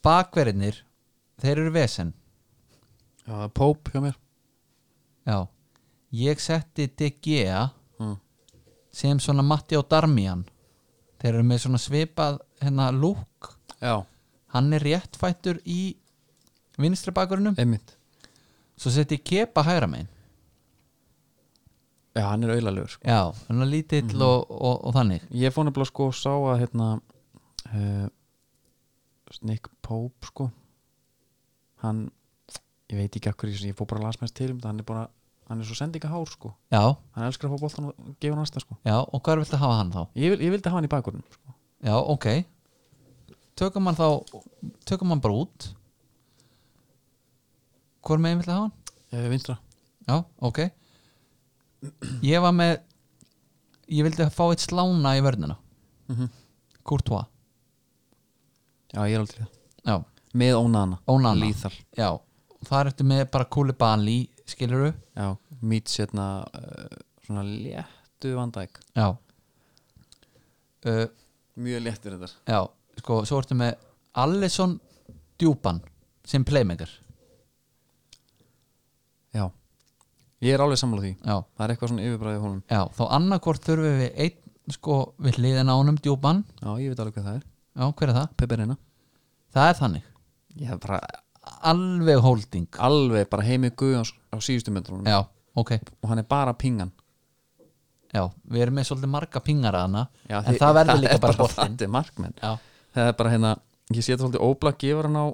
B: bakverðinir Þeir eru vesen
A: Já, það er Pope hjá mér
B: Já Ég setti De Gea
A: mm.
B: sem svona Matti og Darmian Þeir eru með svona svipað hérna lúk
A: Já,
B: Hann er réttfættur í vinstri bakverðinum
A: einmitt
B: Svo setti ég Kepa hægra megin
A: Já, hann er auðalegur sko
B: Já, Mhm. hann er lítill og, og, og þannig
A: Ég fór nefnilega sko og sá að hérna uh, Nick Pope sko hann ég veit ekki akkur í þessu, ég fór bara að lasa með þess til um það hann er búin að, hann er svo sendinga hár sko
B: Já,
A: hann elskar að fá boltan og gefa hann aðstæð sko
B: já, og hvað viltu hafa hann þá?
A: ég, vil, ég vildi hafa hann í bakgrunum sko.
B: Já, ok Tökum hann þá Tökum hann bara út Hvor megin viltu hafa hann?
A: uh, vinstra
B: Já, ok Ég var með Ég vildi fá eitt slána í vörnina
A: Mhm.
B: Courtois
A: já ég er aldrei það
B: Já,
A: með Onana
B: Onana
A: Lethal
B: Já, þar ertu með bara Koulibaly Skiluru
A: já Míts hérna uh, svona léttu vandæk
B: Já uh,
A: mjög léttur þetta
B: Já, sko, svo ertu með Allison Djúpan sem playmaker
A: já ég er alveg sammála því
B: Já,
A: það er eitthvað svona yfirbræði húnum
B: já þá annarkvort þurfum við einn sko við hliðin á honum Djúpan
A: já ég veit alveg hvað það er
B: Já, hver er það?
A: Pepe Reina
B: Það er þannig
A: ég hef bara
B: Alveg holding
A: alveg bara heimi guð á, á síðustu metrunum
B: Já, ok
A: og hann er bara pingan
B: Já, við erum með svolítið marga pingar að hana
A: já,
B: En
A: þið-
B: það verður líka
A: er
B: bara boltinn
A: það er markmenn
B: Já,
A: það er bara hérna ég sé þetta svolítið óblak gefur hann á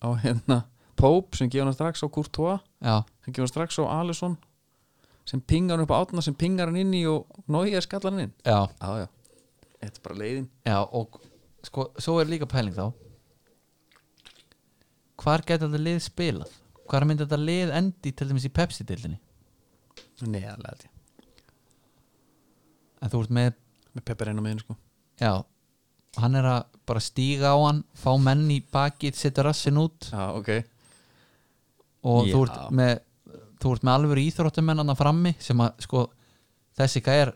A: á hérna Pope sem gefur hann strax á Courtois
B: já,
A: sem gefur hann strax á Alisson sem pingar hann upp á átna sem pingar hann inn í og nógið skallar hann inn
B: já,
A: já já þetta er bara leiðin
B: já Og sko, svo er líka pæling þá Hvar getur þetta lið spilað? Hvar myndi þetta lið endi til dæmis í Pepsi-dildinni?
A: neðalega held ég
B: en þú ert með
A: með Pepper einu megin sko
B: já, og hann er að bara stíga á hann fá menn í bakið, setja rassin út
A: já, ok
B: og
A: Já.
B: þú ert með þú ert með alveg íþróttumennana frammi sem að sko þessi gæjar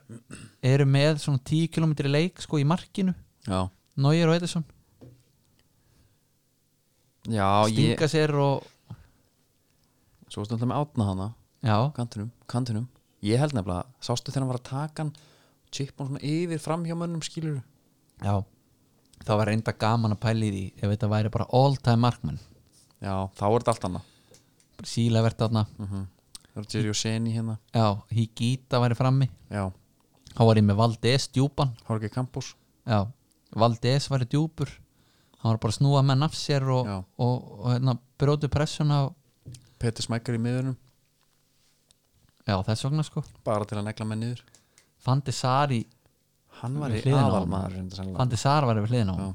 B: eru með svona 10 km leik sko í markinu,
A: já,
B: Nóir og Edison
A: já ég
B: stinga sér og
A: svo varstu alltaf með átna hana
B: já,
A: kantinum, kantinum ég held nefnilega, sástu þegar hann var að taka hann chip hann svona yfir fram hjá mönnum skilur
B: já það var reynda gaman að pæla í því ef þetta væri bara all time markman
A: já, þá er þetta allt annað
B: síla verðt þarna,
A: það er Jerry og Seni hérna
B: já, Higita væri frammi
A: já,
B: þá var ég með Valdes djúpan
A: Jorge Campos
B: já, Valdes væri djúpur hann var bara að snúa menn af sér og,
A: Já.
B: og, og, hérna, brjóti pressuna og,
A: Peter Smækar í miðunum,
B: já, þess vegna sko
A: bara til að negla menn niður
B: Fandi Sari,
A: hann var
B: Við
A: í
B: hliðina á honum.
A: aðalmaður reyndar sennilega.
B: Fandi Sari væri við hliðin á
A: Já.
B: honum.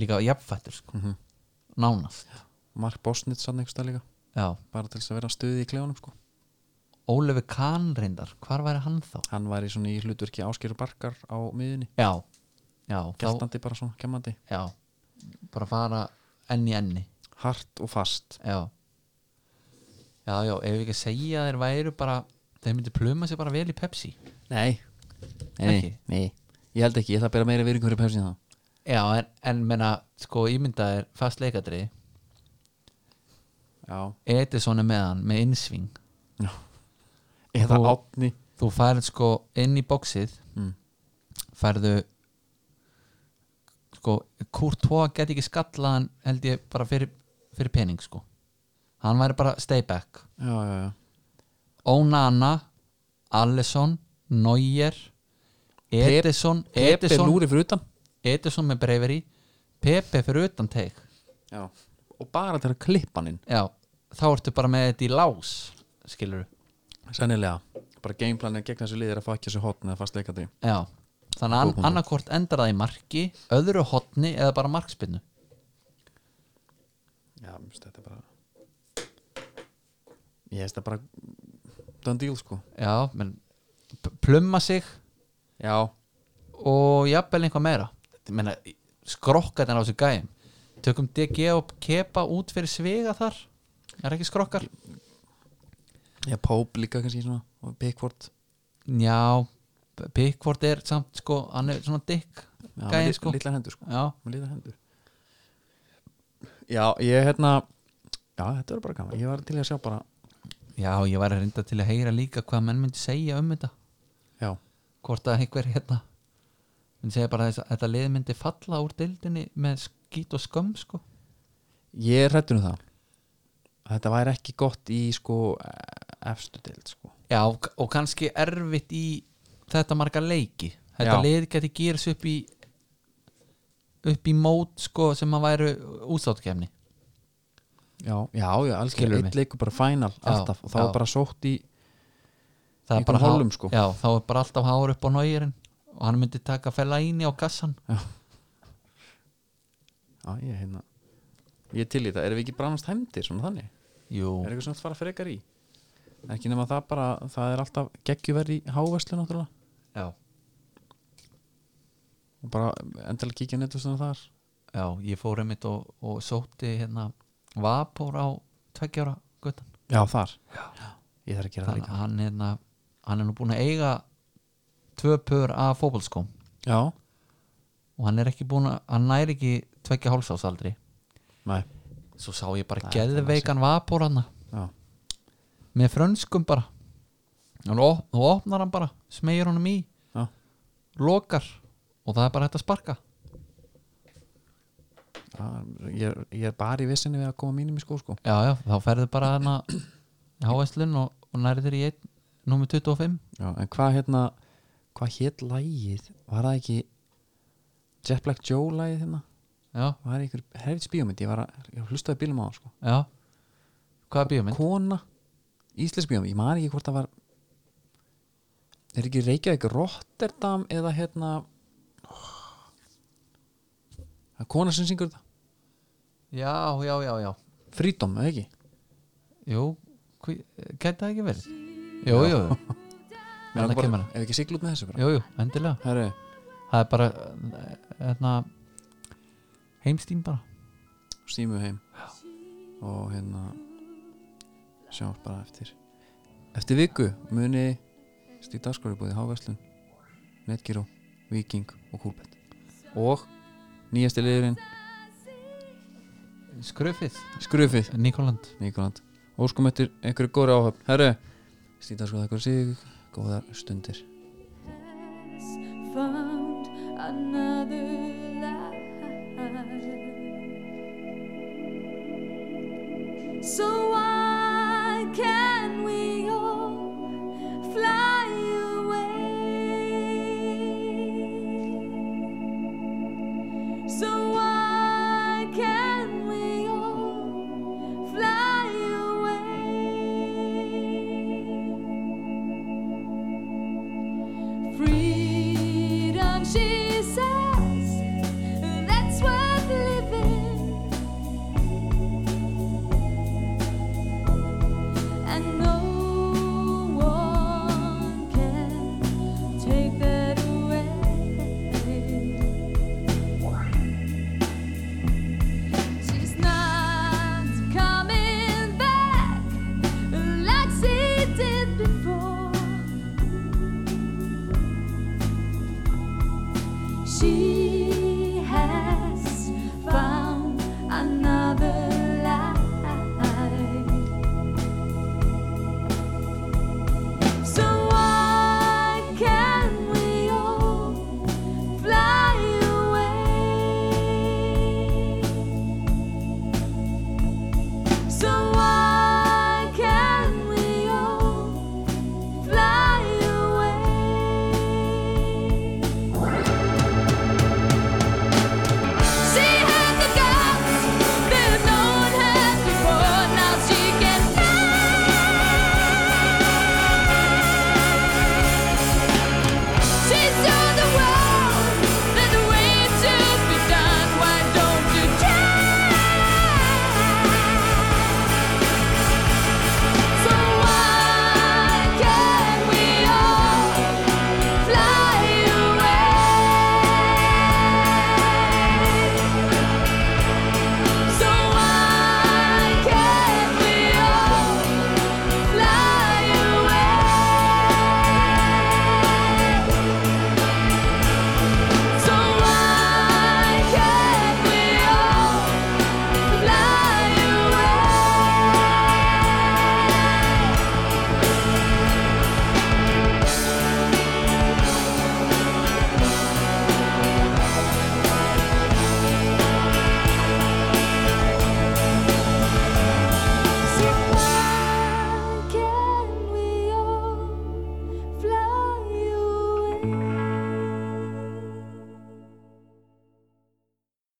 B: líka jafnfættur sko nánast,
A: Mark Bosnitz sann einhverstað líka
B: já
A: bara til þess að vera stuði í klefunum sko
B: Ólefi Kahn reyndar, hvar væri hann þá?
A: hann var í svona í hlutverki áskeru barkar á miðunni,
B: Já, já, þá,
A: gætandi bara svona kemmandi,
B: já bara fara enni enni
A: hart og fast
B: já já, já, ef við ekki að segja að þeir væru bara þeir myndi pluma sér bara vel í Pepsi
A: nei,
B: Ekki?
A: nei. ég held ekki, ég ætla að bera meira virðingur í pepsin það
B: já, en, en menna, sko, ímynda er fast leikadri,
A: já,
B: Edison er með hann með innsving,
A: Já. eða
B: Og-
A: átni
B: þú færð sko inn í bóksið
A: Mm.
B: færðu sko, Courtois get ekki skallaðan held ég bara fyrir, fyrir pening sko, hann væri bara stay back
A: já, já, já.
B: Onana Allison, Neuer
A: Pep-
B: Edison
A: Pepe
B: Edison,
A: lúri fyrir utan
B: Edison með breyferi Pepe fyrir utan teik
A: já. og bara til að klippa hann inn
B: já, þá ertu bara með þetta í lás skilur
A: sennilega, bara gameplanin gegn þessu lið er að fá ekki þessu hotn eða fast leikandi
B: já þannig
A: Góð
B: að
A: punktur.
B: annarkvort endar það í marki öðru hotni eða bara markspinnu
A: já, mér finnst þetta bara ég finnst þetta bara done deal sko
B: já, menn p- plumma sig
A: já,
B: og jafnvel einhvað meira Ég meina, skrokkarnir á þessu gæm tökum DG og kepa út fyrir svega þar er ekki skrokkar
A: já Pope líka kannski svona og Pickford
B: Já, Pickford er samt sko, hann er svona dick
A: já, með
B: gæinn
A: lit-
B: sko
A: litlar hendur sko
B: Já,
A: með litlar hendur já, ég hérna já, þetta er bara gaman, ég var til í að sjá bara
B: já, ég væri reynda til að heyra líka hvað menn myndi segja um þetta
A: já,
B: hvort að einhver hérna myndi segja bara þess að þetta lið myndi falla úr dildinni með skýt og skömm sko
A: ég er hrættur um það þetta væri ekki gott í sko efstu deild sko
B: Já, og og kannski erfitt í þetta marga leiki
A: Já.
B: þetta lið geti gerist upp í upp í mót sko sem að væru útstáttkefni
A: já, já, já alls ekki,
B: Skilurðu mig?
A: eitt leikur bara final alltaf og þá
B: já.
A: er bara sótt í Í
B: það er bara
A: einhverjum
B: há-
A: hálum, sko.
B: já, þá er bara alltaf háur upp á náirinn og hann myndi taka fella íni á kassan
A: já, ég er hérna ég er til í það, erum við ekki brannast hæmdir svona þannig,
B: jú,
A: er eitthvað sem þetta fara frekar í ekki nema það bara, það er alltaf geggjuverð í háveslu náttúrulega
B: já,
A: og bara endilega kíkja netvöstunum þar
B: já ég fór einmitt og, og sótti hérna vapor á tveggjára guttan
A: já, þar já. ég þarf að gera það
B: þannig
A: líka
B: að hann, hérna, hann er nú búin að eiga tvö pör af fótbolskóm
A: já,
B: og hann er ekki búin að, hann næri ekki tveggja hálsásaldri
A: nei,
B: svo sá ég bara
A: Nei,
B: geðveikan vapor hann
A: já,
B: með frönskum bara hann op, þú opnar hann bara, smegir honum í
A: já
B: lokar og það er bara hægt að sparka
A: Já, ég, er- ég er bara í vissinni við að koma mínum í skó sko
B: Já, já, þá ferðu bara þarna háæslun og, og nærið þér í einn nummer 25
A: Já, en hvað hérna hvað hétt lægið, var það ekki Jet Black Joe lægið hérna
B: Já,
A: var einhver herrits bíómynd, ég var að ég hlustaði bílum á það sko,
B: já Hvað er bíómynd?
A: kona íslensk bíómynd, ég man ekki hvort það var er ekki Reykjavík Rotterdam eða hérna það er kona sem syngur þetta
B: Já, já, já, já
A: Freedom, eða ekki
B: Jú, hví- gæti það ekki verið? Jú, jú, Þarna
A: Bara-
B: kemur hann.
A: Ef við ekki sigla út með þessu bara
B: jú, jú, endilega
A: Herri,
B: Það er bara hérna, heimstým bara
A: símu heim og hérna sjáum bara eftir eftir viku muni stíð dagskorubúði Háveslun Netgyró, Viking og Kúlbett og nýjasti liðurinn
B: Skröfið,
A: Skrufið
B: Nikoland
A: Nýkoland Óskum eftir einhverju góri áhöfn Herru, stíð dagskorubúði þakkar sig góðar stundir
E: has found another life. So I